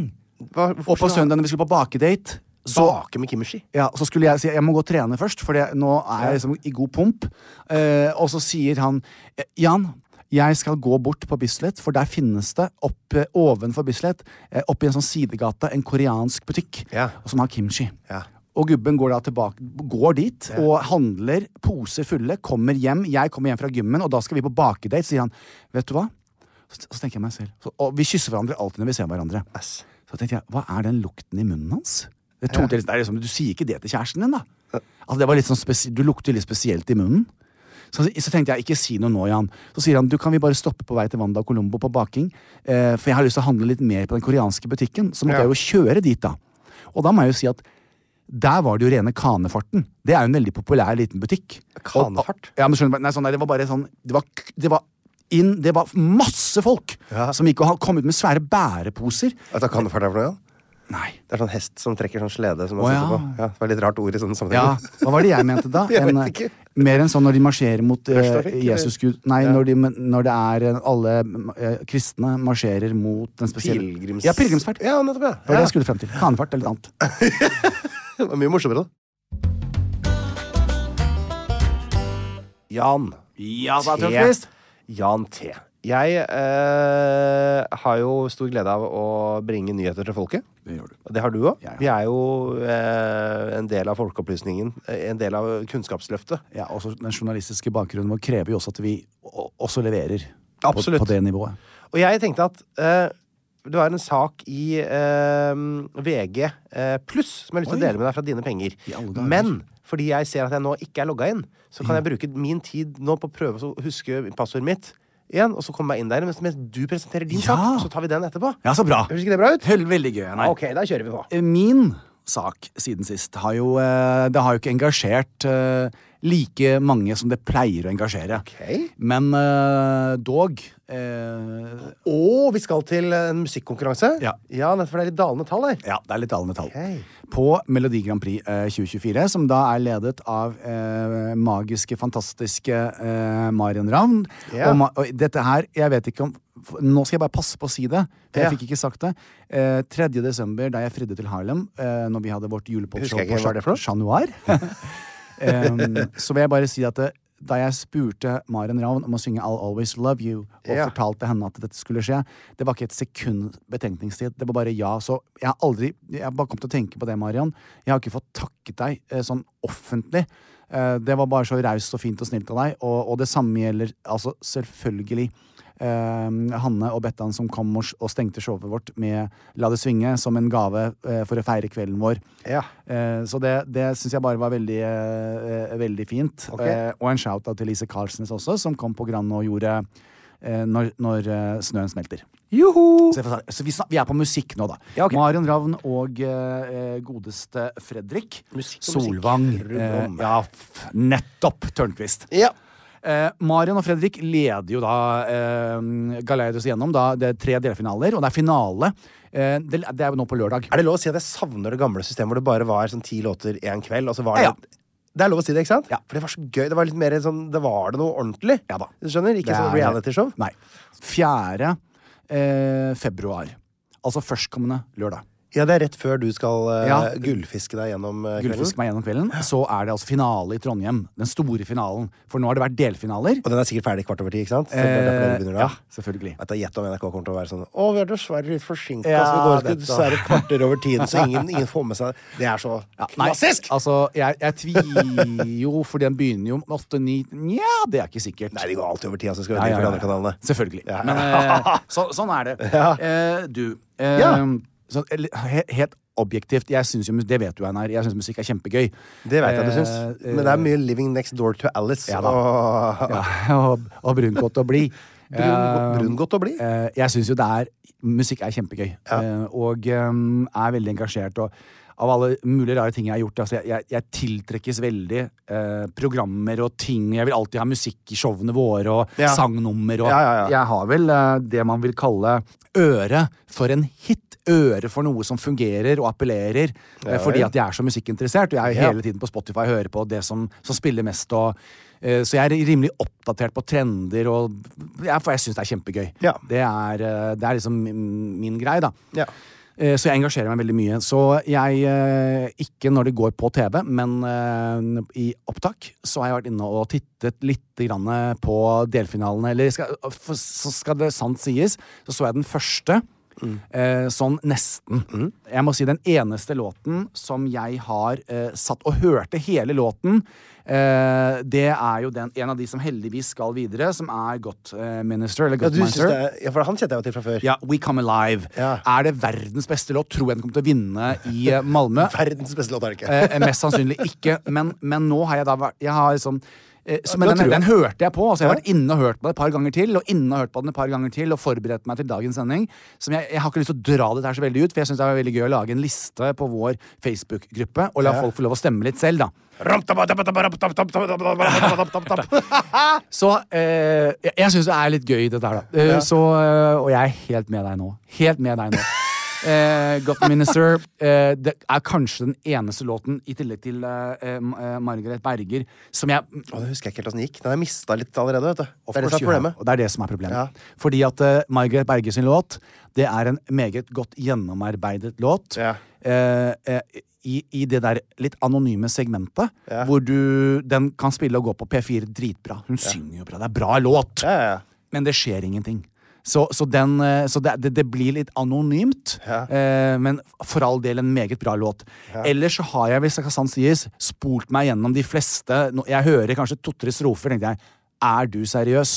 Hva, Og på søndag når vi skulle på bakedate, så Bake med kimchi. ja, så skulle jeg si jeg må gå og trene først, for det- nå er jeg liksom i god pump. Eh, og så sier han eh, Jan, jeg skal gå bort på Bislett, for der finnes det oppe, ovenfor Bislett, eh, oppe i en sånn sidegate, en koreansk butikk Ja. og som har kimchi. Ja. Og gubben går da tilbake, går dit og handler poser fulle, kommer hjem. Jeg kommer hjem fra gymmen, og da skal vi på bakedate, sier han. Vet du hva? Så, så tenker jeg meg selv. Så, og vi kysser hverandre alltid når vi ser hverandre. Ass. Så tenkte jeg, hva er den lukten i munnen hans? Det tok det litt- det er liksom, du sier ikke det til kjæresten din, da. Altså, det var litt sånn spesi- du lukter litt spesielt i munnen. Så, så tenkte jeg, ikke si noe nå, Jan. Så sier han, du kan vi bare stoppe på vei til Wanda og Colombo på baking, eh, for jeg har lyst til å handle litt mer på den koreanske butikken. Så måtte Ja. jeg jo kjøre dit, da. Og da må jeg jo si at der var det jo rene Kanefarten. Det er jo en veldig populær liten butikk. Kanefart? Og- Ja, men skjønner du, nei, sånn der, det var bare sånn Det var, k- det var inn, det var masse folk som gikk og ha- kom ut med svære bæreposer. Vet du hva kanefart er for noe? Jan? Nei. Det er sånn hest som trekker sånn slede. Som man Å, sitter ja. på. Ja, det var litt rart ord i sånne Ja, sammenhenger. Hva var det jeg mente da? Jeg vet En, eh, ikke. mer enn sånn når de marsjerer mot eh, Rushtrafikk, eller? Jesus Gud Nei, når, de, når det er eh, alle eh, kristne marsjerer mot den spesielle Pilegrims... Ja, pilegrimsferd. Ja, nettopp, ja. Det var det ja. jeg skulle frem til. Kanefart eller noe annet. Det var mye morsommere, da. Jan. Ja, da, T. Tørnquist. Jan T. Jeg eh, har jo stor glede av å bringe nyheter til folket. Det gjør du. Og Det har du òg. Ja, ja. Vi er jo eh, en del av folkeopplysningen. eh, En del av Kunnskapsløftet. Ja, også Den journalistiske bakgrunnen vår krever jo også at vi o- også leverer Absolutt. På, på det nivået. Og jeg tenkte at eh, det var en sak i eh, VG eh, pluss som jeg har lyst til å dele med deg fra dine penger. I alle dager. Men fordi jeg ser at jeg nå ikke er logga inn, så kan jeg bruke min tid nå på å prøve å huske passordet mitt igjen, og så komme meg inn der mens, mens du presenterer din Ja. sak. Så tar vi den etterpå. Ja, så bra. Høres ikke det bra ut? Høll, veldig gøy. Einar. Ok, da kjører vi på. Min sak siden sist har jo eh, Det har jo ikke engasjert eh, like mange som det pleier å engasjere. Ok. Men eh, dog eh, Og vi skal til en musikkonkurranse. Ja. nettopp, for det er litt dalende tall her. Ja, det er litt dalende tall. Ok. På Melodi Grand Prix eh, 2024, som da er ledet av eh, magiske, fantastiske eh, Marion Ravn. Ja. Og, ma og dette her, jeg vet ikke om f- Nå skal jeg bare passe på å si det, for Ja. jeg fikk ikke sagt det. Eh, 3. desember, da jeg fridde til Harlem, eh, når vi hadde vårt Husker julepodshow jeg ikke, på hva er det for noe? Chat Noir, em, så vil jeg bare si at det, da jeg spurte Maren Ravn om å synge I'll Always Love You, og Ja. fortalte henne at dette skulle skje, det var ikke et sekund betenkningstid. Det var bare ja. Så jeg har aldri Jeg bare kom til å tenke på det, Marian. Jeg har ikke fått takket deg eh, sånn offentlig. Eh, det var bare så raust og fint og snilt av deg. Og, og det samme gjelder altså selvfølgelig eh, Hanne og Bettan som kom og, og stengte showet vårt med La det svinge som en gave eh, for å feire kvelden vår. Ja. Eh, Så det, det syns jeg bare var veldig, eh, eh, veldig fint. Ok. Eh, Og en shout-out til Lise Karlsnes også, som kom på Grand og gjorde eh, Når, når eh, snøen smelter. Så, jeg får sa- så vi, snak- vi er på musikk nå, da. Ja, ok. Marion Ravn og eh, eh, godeste Fredrik Musikk og musikk. Solvang. Fru eh, Blom. ja, f nettopp Tørnquist. Ja. Eh, Marion og Fredrik leder jo da eh, Galeidos gjennom. Da, det er tre delfinaler, og det er finale. Eh, det, det er jo nå på lørdag. Er det lov å si at jeg savner det gamle systemet hvor det bare var sånn ti låter én kveld? Og så var det, Ja, ja. det er lov å si det, ikke sant? Ja. For det var så gøy. Det var litt mer sånn Det var det noe ordentlig. Ja da. Du skjønner? Ikke Det sånn er- realityshow. Nei. 4. Eh, februar. Altså førstkommende lørdag. Ja, det er rett før du skal eh, Ja. gullfiske deg gjennom eh, kvelden. Gullfisk meg gjennom kvelden. Så er det altså finale i Trondheim. Den store finalen. For nå har det vært delfinaler. Eh, Og den er sikkert ferdig kvart over ti, ikke sant? Så det er derfor den begynner da. ja, selvfølgelig. Vet du, Gjett om NRK kommer til å være sånn Å, vi er dessverre litt forsinka, Ja, så vi går ikke dette- dessverre kvarter over tiden, så ingen, ingen får med seg Det er så Ja, nei, klassisk! Altså, jeg, jeg tviler jo, for den begynner jo om åtte, ni Nja, det er ikke sikkert. Nei, de går alltid over tida, så skal Ja, vi ja, ja, for de ja. andre kanalene. Selvfølgelig. Ja. Men eh, så, sånn er det. Ja. Eh, du, eh, Ja. så, eller, he, helt objektivt, jeg synes jo, mus- det vet du, Einar, jeg syns musikk er kjempegøy. Det vet jeg du Eh, syns. Men det er mye 'Living Next Door to Alice' Ja da. og Ja, og, og brungodt å bli. Brun- Eh, Brungodt å bli. eh, jeg syns jo det er Musikk er kjempegøy. eh, og eh, er veldig engasjert. Og av alle mulige rare ting jeg har gjort altså jeg, jeg, jeg tiltrekkes veldig eh, programmer og ting. Jeg vil alltid ha musikk i showene våre, og Ja. sangnummer og Ja, ja, ja. Jeg har vel eh, det man vil kalle øre for en hit. Øre for noe som fungerer og appellerer. eh, fordi at jeg er så musikkinteressert, og jeg er jo Ja. hele tiden på Spotify hører på det som, som spiller mest. Og, eh, så jeg er rimelig oppdatert på trender, og, ja, for jeg syns det er kjempegøy. Ja. Det, er, eh, det er liksom min- min greie, da. Ja. Eh, Så jeg engasjerer meg veldig mye. Så jeg, eh, ikke når det går på TV, men eh, i opptak, så har jeg vært inne og tittet litt grann på delfinalene. Eller skal, for, så skal det sant sies, så så jeg den første. Mm. Eh, sånn nesten. Jeg må si den eneste låten som jeg har eh, satt og hørte hele låten, eh, det er jo den, en av de som heldigvis skal videre, som er Got eh, Minister. Eller Ja, Got du syns Miser. det er, ja, for han kjente jeg jo til fra før. Ja, We Come Alive. Ja. Er det verdens beste låt? Tror jeg den kommer til å vinne i eh, Malmö. Verdens beste låt er det ikke. Eh, mest sannsynlig ikke, men, men nå har jeg da vært Jeg har liksom eh, så, men Da den, tror jeg. den hørte jeg på. Altså, jeg har vært inne og hørt på det et par ganger til. Og inne og hørt på den et par ganger til Og forberedt meg til dagens sending. Som jeg, jeg har ikke lyst til å dra dette her så veldig ut, for jeg syns det er veldig gøy å lage en liste på vår Facebook-gruppe og la folk få lov å stemme litt selv, da. Så eh, jeg, jeg syns det er litt gøy, dette her, da. Eh, Så, eh, og jeg er helt med deg nå. Helt med deg nå. Eh, Got Minister eh, det er kanskje den eneste låten, i tillegg til eh, eh, Margaret Berger, som jeg Å, det husker jeg ikke helt åssen det gikk. Den har jeg mista litt allerede, vet du. Of Det er det course you have. som er problemet. Og det er det som er problemet. Ja. Fordi at eh, Margaret Berge sin låt, det er en meget godt gjennomarbeidet låt. Ja. Eh, eh, i, I det der litt anonyme segmentet, hvor du, den kan spille og gå på P4 dritbra. Hun synger jo bra. Det er bra låt. Ja, ja, ja. Men det skjer ingenting. Så, så, den, eh, så det, det, det blir litt anonymt, eh, men for all del en meget bra låt. Ellers så har jeg, hvis det kan sies, spolt meg gjennom de fleste nå- Jeg hører kanskje to-tre strofer, tenkte jeg. Er du seriøs?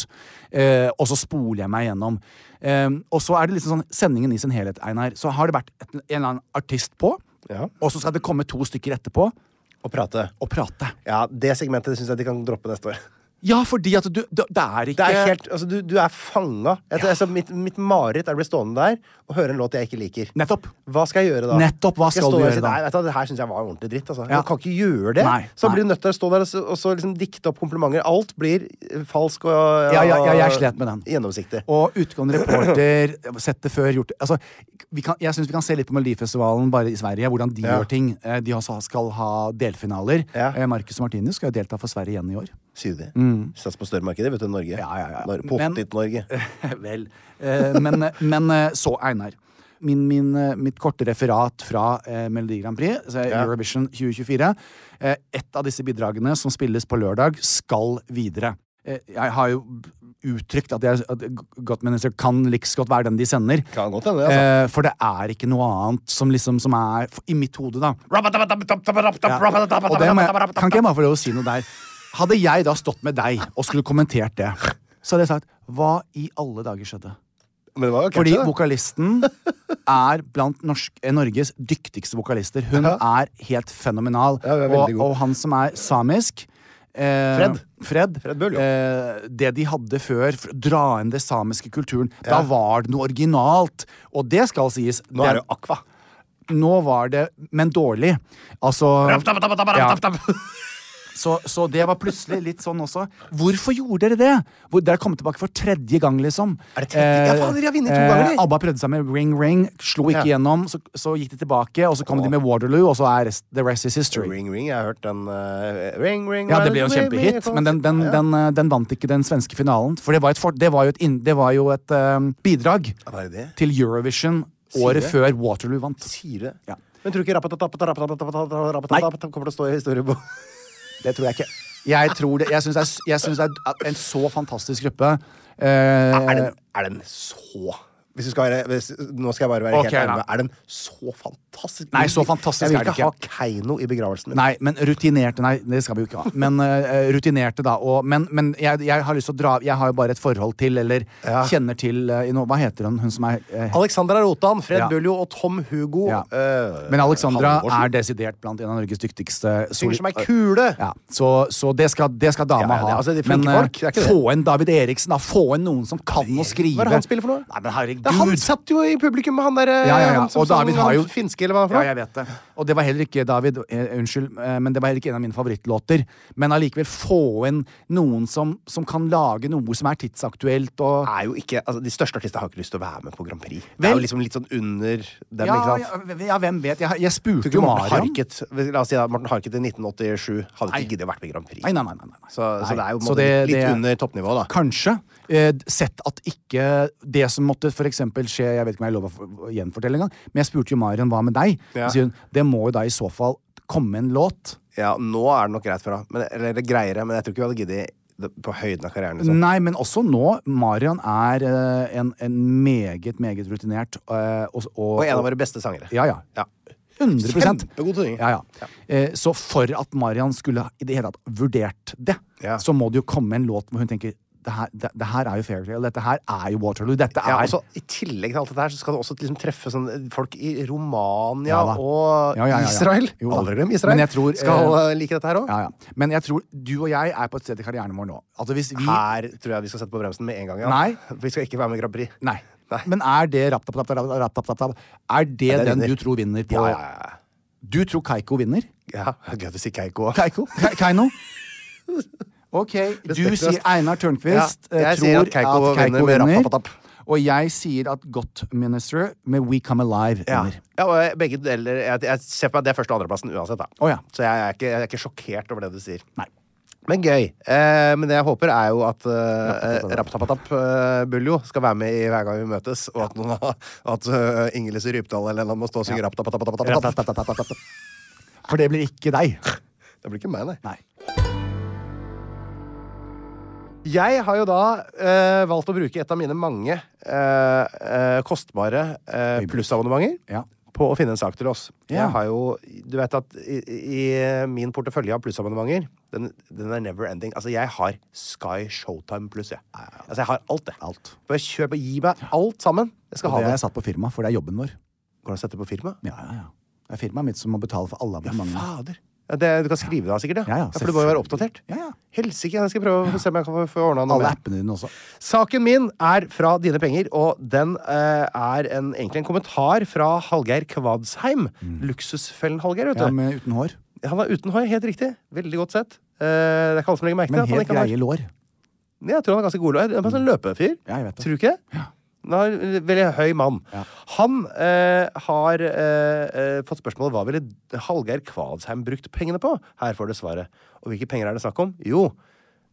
Eh, og så spoler jeg meg gjennom. Eh, og så er det liksom sånn sendingen i sin helhet, Einar. Så har det vært et, en eller annen artist på, Ja. og så skal det komme to stykker etterpå Å prate. og prate. Ja, det segmentet syns jeg de kan droppe neste år. Ja, fordi at du Det, det er Det ikke er helt, altså, du, du er fanga. Jeg- altså, mitt, mitt mareritt er å bli stående der og høre en låt jeg ikke liker. Nettopp. Hva skal jeg gjøre da? Nettopp, hva Jeg skal står du der og gjøre sier, da? Nei, vet du, det her syns jeg var ordentlig dritt. Altså. Ja. Jeg kan ikke gjøre det. Nei, så nei. blir du nødt til å stå der og, så- og så liksom dikte opp komplimenter. Alt blir eh, falsk og, og Ja, ja, ja, jeg slet med den. gjennomsiktig. Og utgående reporter, sett det før, gjort det altså, vi kan, Jeg syns vi kan se litt på Melodifestivalen bare i Sverige, hvordan de Ja. gjør ting. Eh, De også skal ha delfinaler. Ja. Eh, Marcus og Martinus skal jo delta for Sverige igjen i år. Sier du det? Sats på størremarkedet, vet du. Norge. Ja, ja, ja. Nor- Men- Pottit-Norge. Vel. Eh, Men, men eh, så, Einar. Min, min, eh, mitt korte referat fra eh, Melodi Grand Prix, så er Eurovision 2024. Eh, et av disse bidragene som spilles på lørdag, skal videre. Eh, jeg har jo uttrykt at, jeg, at Gottminister kan like så godt være den de sender. Kan godt hende, altså. Eh, for det er ikke noe annet som liksom som er I mitt hode, da. Ja. Og det må jeg, kan ikke jeg bare få lov å si noe der? Hadde jeg da stått med deg og skulle kommentert det, så hadde jeg sagt Hva i alle dager skjedde? Men det var jo Fordi catchy, da. vokalisten er blant norsk, eh, Norges dyktigste vokalister. Hun er helt fenomenal. Ja, hun er veldig og, god. og han som er samisk eh, Fred. Fred. Fred Bull, jo. eh, det de hadde før, for å dra inn det samiske kulturen. Da var det noe originalt. Og det skal sies. Nå er den- det jo Aqua. nå var det Men dårlig. Altså ja. så, så det var plutselig litt sånn også. Hvorfor gjorde dere det? Hvor, dere kom tilbake for tredje gang, liksom. Eh, Er det tredje? Ja, faen, dere har vunnet to ganger, dere. ABBA prøvde seg med Ring Ring, slo ikke Ja. gjennom. Så, så gikk de tilbake, og så kom de med Waterloo, og så er rest, the rest is history. Ring Ring, jeg har hørt den eh, Ring Ring Ja, det ble jo en kjempehit, men den, den, den, eh, den vant ikke den svenske finalen. For det var, et, for, det var jo et, inn- det var jo et eh, bidrag Hva er det? til Eurovision året det? før Waterloo vant. Sier det? Ja. Men tror du ikke rapatatatata, rapatatatata, rapatatatata kommer til å stå i historieboka? Det tror jeg ikke. Jeg, tror det, jeg syns det, er s- jeg synes det er en så fantastisk gruppe. Eh, Er den, er den så hvis du skal være, hvis, Nå skal jeg bare være Ok, helt ærlig. da. med deg. Er den så fantastisk? Nei, så fantastisk jeg vil er det ikke ha Keiino i begravelsen min. nei, men rutinerte Nei, det skal vi jo ikke ha. Men eh, rutinerte, da. Og, men men jeg, jeg har lyst til å dra Jeg har jo bare et forhold til, eller kjenner til eh, i noe- Hva heter hun, hun som er eh, Alexandra Rotan, Fred Ja. Buljo og Tom Hugo. Ja. eh, Men Alexandra Halvorsen. er desidert blant en av Norges dyktigste. Synger som ei kule! Ja, så, så det skal, det skal dama Ja, ja, det- ha. altså, det er flinke men eh, folk, det er ikke det. få inn David Eriksen, da. Få inn noen som kan å skrive. Hva er det han spiller for noe? Nei, men Det er han herregud. satt jo i publikum med han der eh, Ja, ja, ja. Han Og som sang, David har jo han finske, eller hva Ja, han for jeg vet det. Og det var heller ikke David, eh, unnskyld, eh, men det var heller ikke en av mine favorittlåter. Men allikevel få inn noen som, som kan lage noe som er tidsaktuelt og er jo ikke, altså, De største artistene har ikke lyst til å være med på Grand Prix. Det Vel- er jo liksom litt sånn under dem, ja, ikke sant? ja, ja, hvem vet? Jeg, jeg spurte Tror ikke jo Morten Marion. Harket La oss si da, Morten Harket i 1987 hadde ikke giddet å vært med i Grand Prix. Nei, nei, nei. nei, nei. Så, så det er jo på en Så måte det- litt, litt det- under toppnivået, da. Kanskje. Eh, sett at ikke det som måtte for eksempel skje Jeg vet ikke om jeg lover å gjenfortelle engang, men jeg spurte jo Marion hva med deg? Ja. Så sier hun det må jo da i så fall komme en låt. Ja, nå er det nok greit for henne. Men- Eller det greiere, men jeg tror ikke vi hadde giddet det- på høyden av karrieren. Liksom. Nei, men også nå. Marion er eh, en, en meget, meget rutinert eh, og, Og en av våre beste sangere. Ja, ja. Ja. 100 Kjempegod til å synge. Ja, ja. Eh, Så for at Marian skulle ha- i det hele tatt vurdert det, Ja. så må det jo komme en låt hvor hun tenker det her, det, det her er jo Fairytale, dette her er jo Waterloo, dette er Ja, altså, I tillegg til alt dette her Så skal du også liksom treffe sånn, folk i Romania Ja, da. og Ja, ja, ja, ja. Israel. Jo, da. Aldri glem Israel. Men jeg tror, skal eh, eh, like dette her òg. ja, ja. Men jeg tror du og jeg er på et sted i karrieren vår nå. Altså hvis vi Her tror jeg vi skal sette på bremsen med en gang. Ja. Nei. Vi skal ikke være med i Grand Prix. Nei. Nei. Men er det rapp, tapp, tapp, tapp, rapp, tapp, tapp, tapp, Er det den den vinner. du tror vinner på Ja, ja, ja. Du tror Kaiko vinner? ja. Gøy å si Keiko òg. Keiko? Ke Keino? Ok, du Respektløst. sier Einar Tørnquist Ja, eh, jeg sier tror at Keiko at Keiko vinner med vinner. rapp-tapp-tapp. Og jeg sier at Godt Minister med We Come Alive Ja. vinner. ja, og begge deler Jeg, jeg ser på meg det er første- og andreplassen uansett, da. Å, ja. Så jeg er, ikke, jeg er ikke sjokkert over det du sier. Nei. Men gøy. Eh, men det jeg håper, er jo at eh, Rappatapatap eh, Buljo skal være med i hver gang vi møtes, og at, noen, har- at eh, Ingelis Rypdal eller noen må stå og synge Rappatapatapatap. For det blir ikke deg. Det blir ikke meg, nei. Nei. Jeg har jo da eh, valgt å bruke et av mine mange eh, eh, kostbare eh, plussabonnementer Ja. på å finne en sak til oss. Ja. Jeg har jo, Du vet at i, i min portefølje av plussabonnementer, den, den er never ending. Altså, jeg har Sky Showtime pluss, jeg. Altså, jeg har alt, det. Alt. Bare kjøp og gi meg alt sammen. Jeg skal Og det ha har det. jeg satt på firma, for det er jobben vår. Går det an å sette på firma? Ja, ja, ja. Det er firmaet mitt som må betale for alle Ja, abonnementene. fader. Ja, det, du kan skrive det av, sikkert? Ja, ja, for det må jo være selvfølgelig. oppdatert. Ja, ja. Helsike, jeg skal prøve å se om jeg kan få- få ordna noe Alle med appene dine også. Saken min er fra Dine penger, og den eh, er en, egentlig en kommentar fra Hallgeir Kvadsheim. Luksusfellen Hallgeir, vet du. Mm. Ja, med uten hår. Han er uten hår, helt riktig. Veldig godt sett. Eh, det er ikke alle som legger merke til Men at han helt ikke har greie lår. Nei, Jeg tror han er ganske god. Han er bare en sånn løpefyr. Ja, jeg vet det. Tror du ikke? Ja. Han er en veldig høy mann. Han eh, har eh, eh, fått spørsmålet hva ville Hallgeir Kvadsheim brukt pengene på. Her får du svaret. Og hvilke penger er det snakk om? Jo,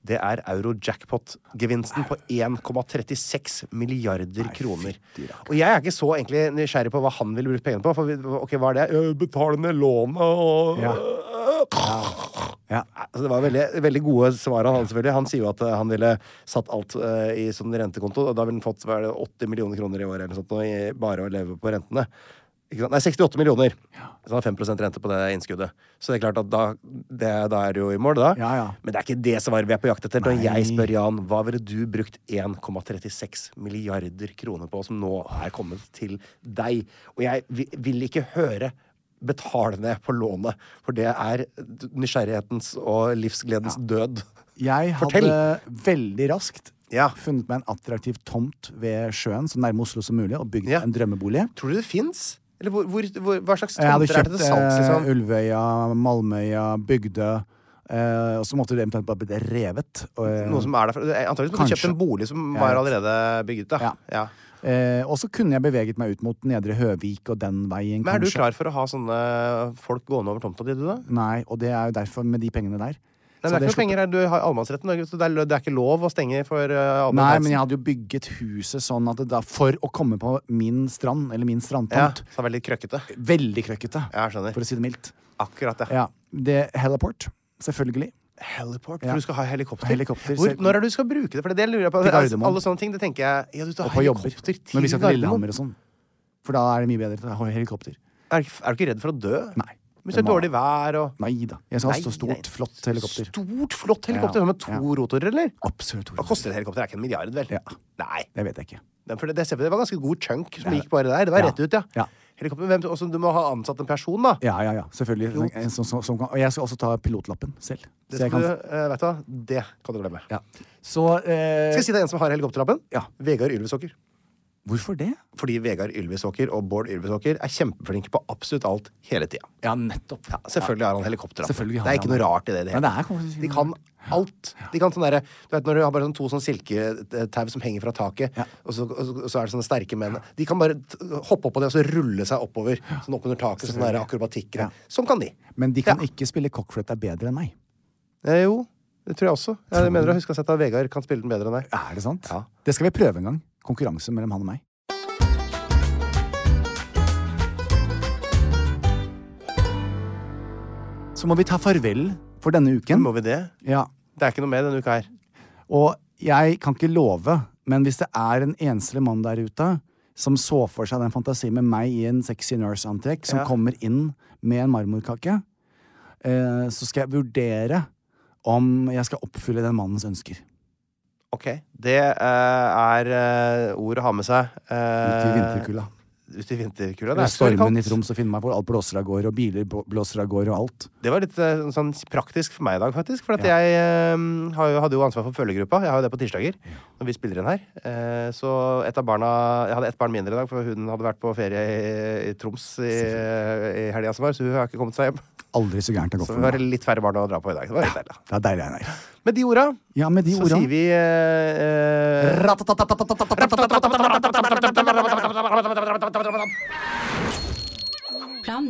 det er euro-jackpot-gevinsten på 1,36 milliarder kroner. Og jeg er ikke så egentlig nysgjerrig på hva han ville brukt pengene på. For vi, ok, hva er det? Eh, Betale ned lånet og Ja. Altså, det var veldig, veldig gode svar av han, selvfølgelig. Han sier jo at eh, han ville satt alt eh, i sånn rentekonto, og da ville han fått hva er det, 80 millioner kroner i året eller noe sånt, nå, i, bare å leve på rentene. Ikke sant? Nei, 68 millioner. Så han har 5 rente på det innskuddet. Så det er klart at da, det, da er du jo i mål, da. Ja, ja. Men det er ikke det svaret vi er på jakt etter. Når jeg spør Jan hva ville du brukt 1,36 milliarder kroner på, som nå er kommet til deg, og jeg vi- vil ikke høre Betale ned på lånet, for det er nysgjerrighetens og livsgledens død. Jeg hadde Fortell. veldig raskt Ja. funnet meg en attraktiv tomt ved sjøen, så nærme Oslo som mulig, og bygd Ja. en drømmebolig. Eh, Tror du det fins? Eller hvor, hvor, hvor, hva slags Jeg hadde tomter er kjøpt det til salgs? eh, Liksom? Ulvøya, Malmøya, Bygdø. eh, og så måtte det eventuelt bare bli revet. Og, eh, Noe som er derfra? Antakeligvis måtte du kjøpt Kanskje. en bolig som Jeg var vet. allerede bygget. Da. Ja. Ja. eh, og så kunne jeg beveget meg ut mot Nedre Høvik og den veien, Men er du kanskje. klar for å ha sånne folk gående over tomta di, du, da? Nei, og det er jo derfor, med de pengene der. Nei, så men det er hadde jeg ikke noe penger her. Du har allemannsretten. Norge, så Det er, lo- det er ikke lov å stenge for Nei, uh, men allmennheten. jeg hadde jo bygget huset sånn at det da, for å komme på min strand, eller min Ja, strandtomt, så det er veldig krøkkete. veldig krøkkete, Ja, jeg skjønner. for å si det mildt. Akkurat, ja. Ja, det Heliport, selvfølgelig. Heliport? Ja. For du skal ha helikopter? Helikopter, Hvor, selv- når er det du skal bruke det? For det, er det jeg lurer jeg på. Til Altså, Gardermoen. Alle sånne ting, det tenker jeg Ja, du tar Og på jobber. helikopter til Når vi skal til Gardermoen. Lillehammer og sånn. For da er det mye bedre å ha helikopter. Er, du ikke- er du ikke redd for å dø? Nei. Hvis det er må- dårlig vær og Nei da. Jeg skal ha Nei, så stort, nei. flott helikopter. Stort, flott helikopter Ja, med to ja. rotorer, eller? Absolutt. Hva koster et helikopter? Det er ikke en milliard, vel? Ja. Nei. Det vet jeg ikke. Det, for det, det, ser vi, det var ganske god chunk som Ja. gikk bare der. Det var Ja. rett ut, ja. Ja. Helikopter, hvem, også, du må ha ansatt en person, da. Ja, ja, ja. Selvfølgelig. En som- som- som kan- og jeg skal også ta pilotlappen selv. Det Så jeg skal kan du, eh, vet du, hva? det kan du glemme. ja. Så eh, Skal jeg si deg en som har helikopterlappen? Ja. Vegard Ylvisåker. eh, Hvorfor det? Fordi Vegard Ylvisåker og Bård Ylvisåker er kjempeflinke på absolutt alt hele tida. Ja, nettopp. Ja, Selvfølgelig har han helikopterlappen. Selvfølgelig har Det er ikke han noe det. rart i det. i Nei, det hele det er tatt. kanskje ikke De noe kan alt. De kan sånn derre Du vet når du har bare sånn to sånn silketau som henger fra taket, og, så, og så- og så er det sånne sterke menn De kan bare t hoppe oppå det og så rulle seg oppover sånn oppunder taket. Sånn derre akrobatikker. Ja. Sånn kan de. Men de kan Ja. ikke spille cockfret er bedre enn meg. Eh, jo, det tror jeg også. Jeg mener å huske å ha sett at Vegard kan spille den bedre enn deg. Er det sant? Ja. Det skal vi prøve en gang. Konkurranse mellom han og meg. Så må vi ta farvel for denne uken. Må vi det? Ja. Det er ikke noe med denne uka her. Og jeg kan ikke love, men hvis det er en enslig mann der ute som så for seg den fantasien med meg i en sexy nurse-antrekk, som Ja. kommer inn med en marmorkake, eh, så skal jeg vurdere om jeg skal oppfylle den mannens ønsker. Ok. Det eh, er eh, ord å ha med seg. Ute i Uh, vinterkulda. Ute i vinterkula. Det er Det er så stormen i kaldt. Troms og Finnmark hvor alt blåser av gårde, og biler blå- blåser av gårde, og alt. Det var litt eh, sånn praktisk for meg i dag, faktisk. For at jeg eh, har jo, hadde jo ansvar for følgegruppa. Jeg har jo det på tirsdager når vi spiller inn her. Eh, så et av barna Jeg hadde ett barn mindre i dag, for hun hadde vært på ferie i, i Troms i, i helga som var, så hun har ikke kommet seg hjem. Aldri så gærent det går Så for vi har meg. litt færre barn å dra på i dag. Det var litt deilig. Det er deilig, Einar. Med de orda Ja, med de så orda sier vi eh, eh, Plan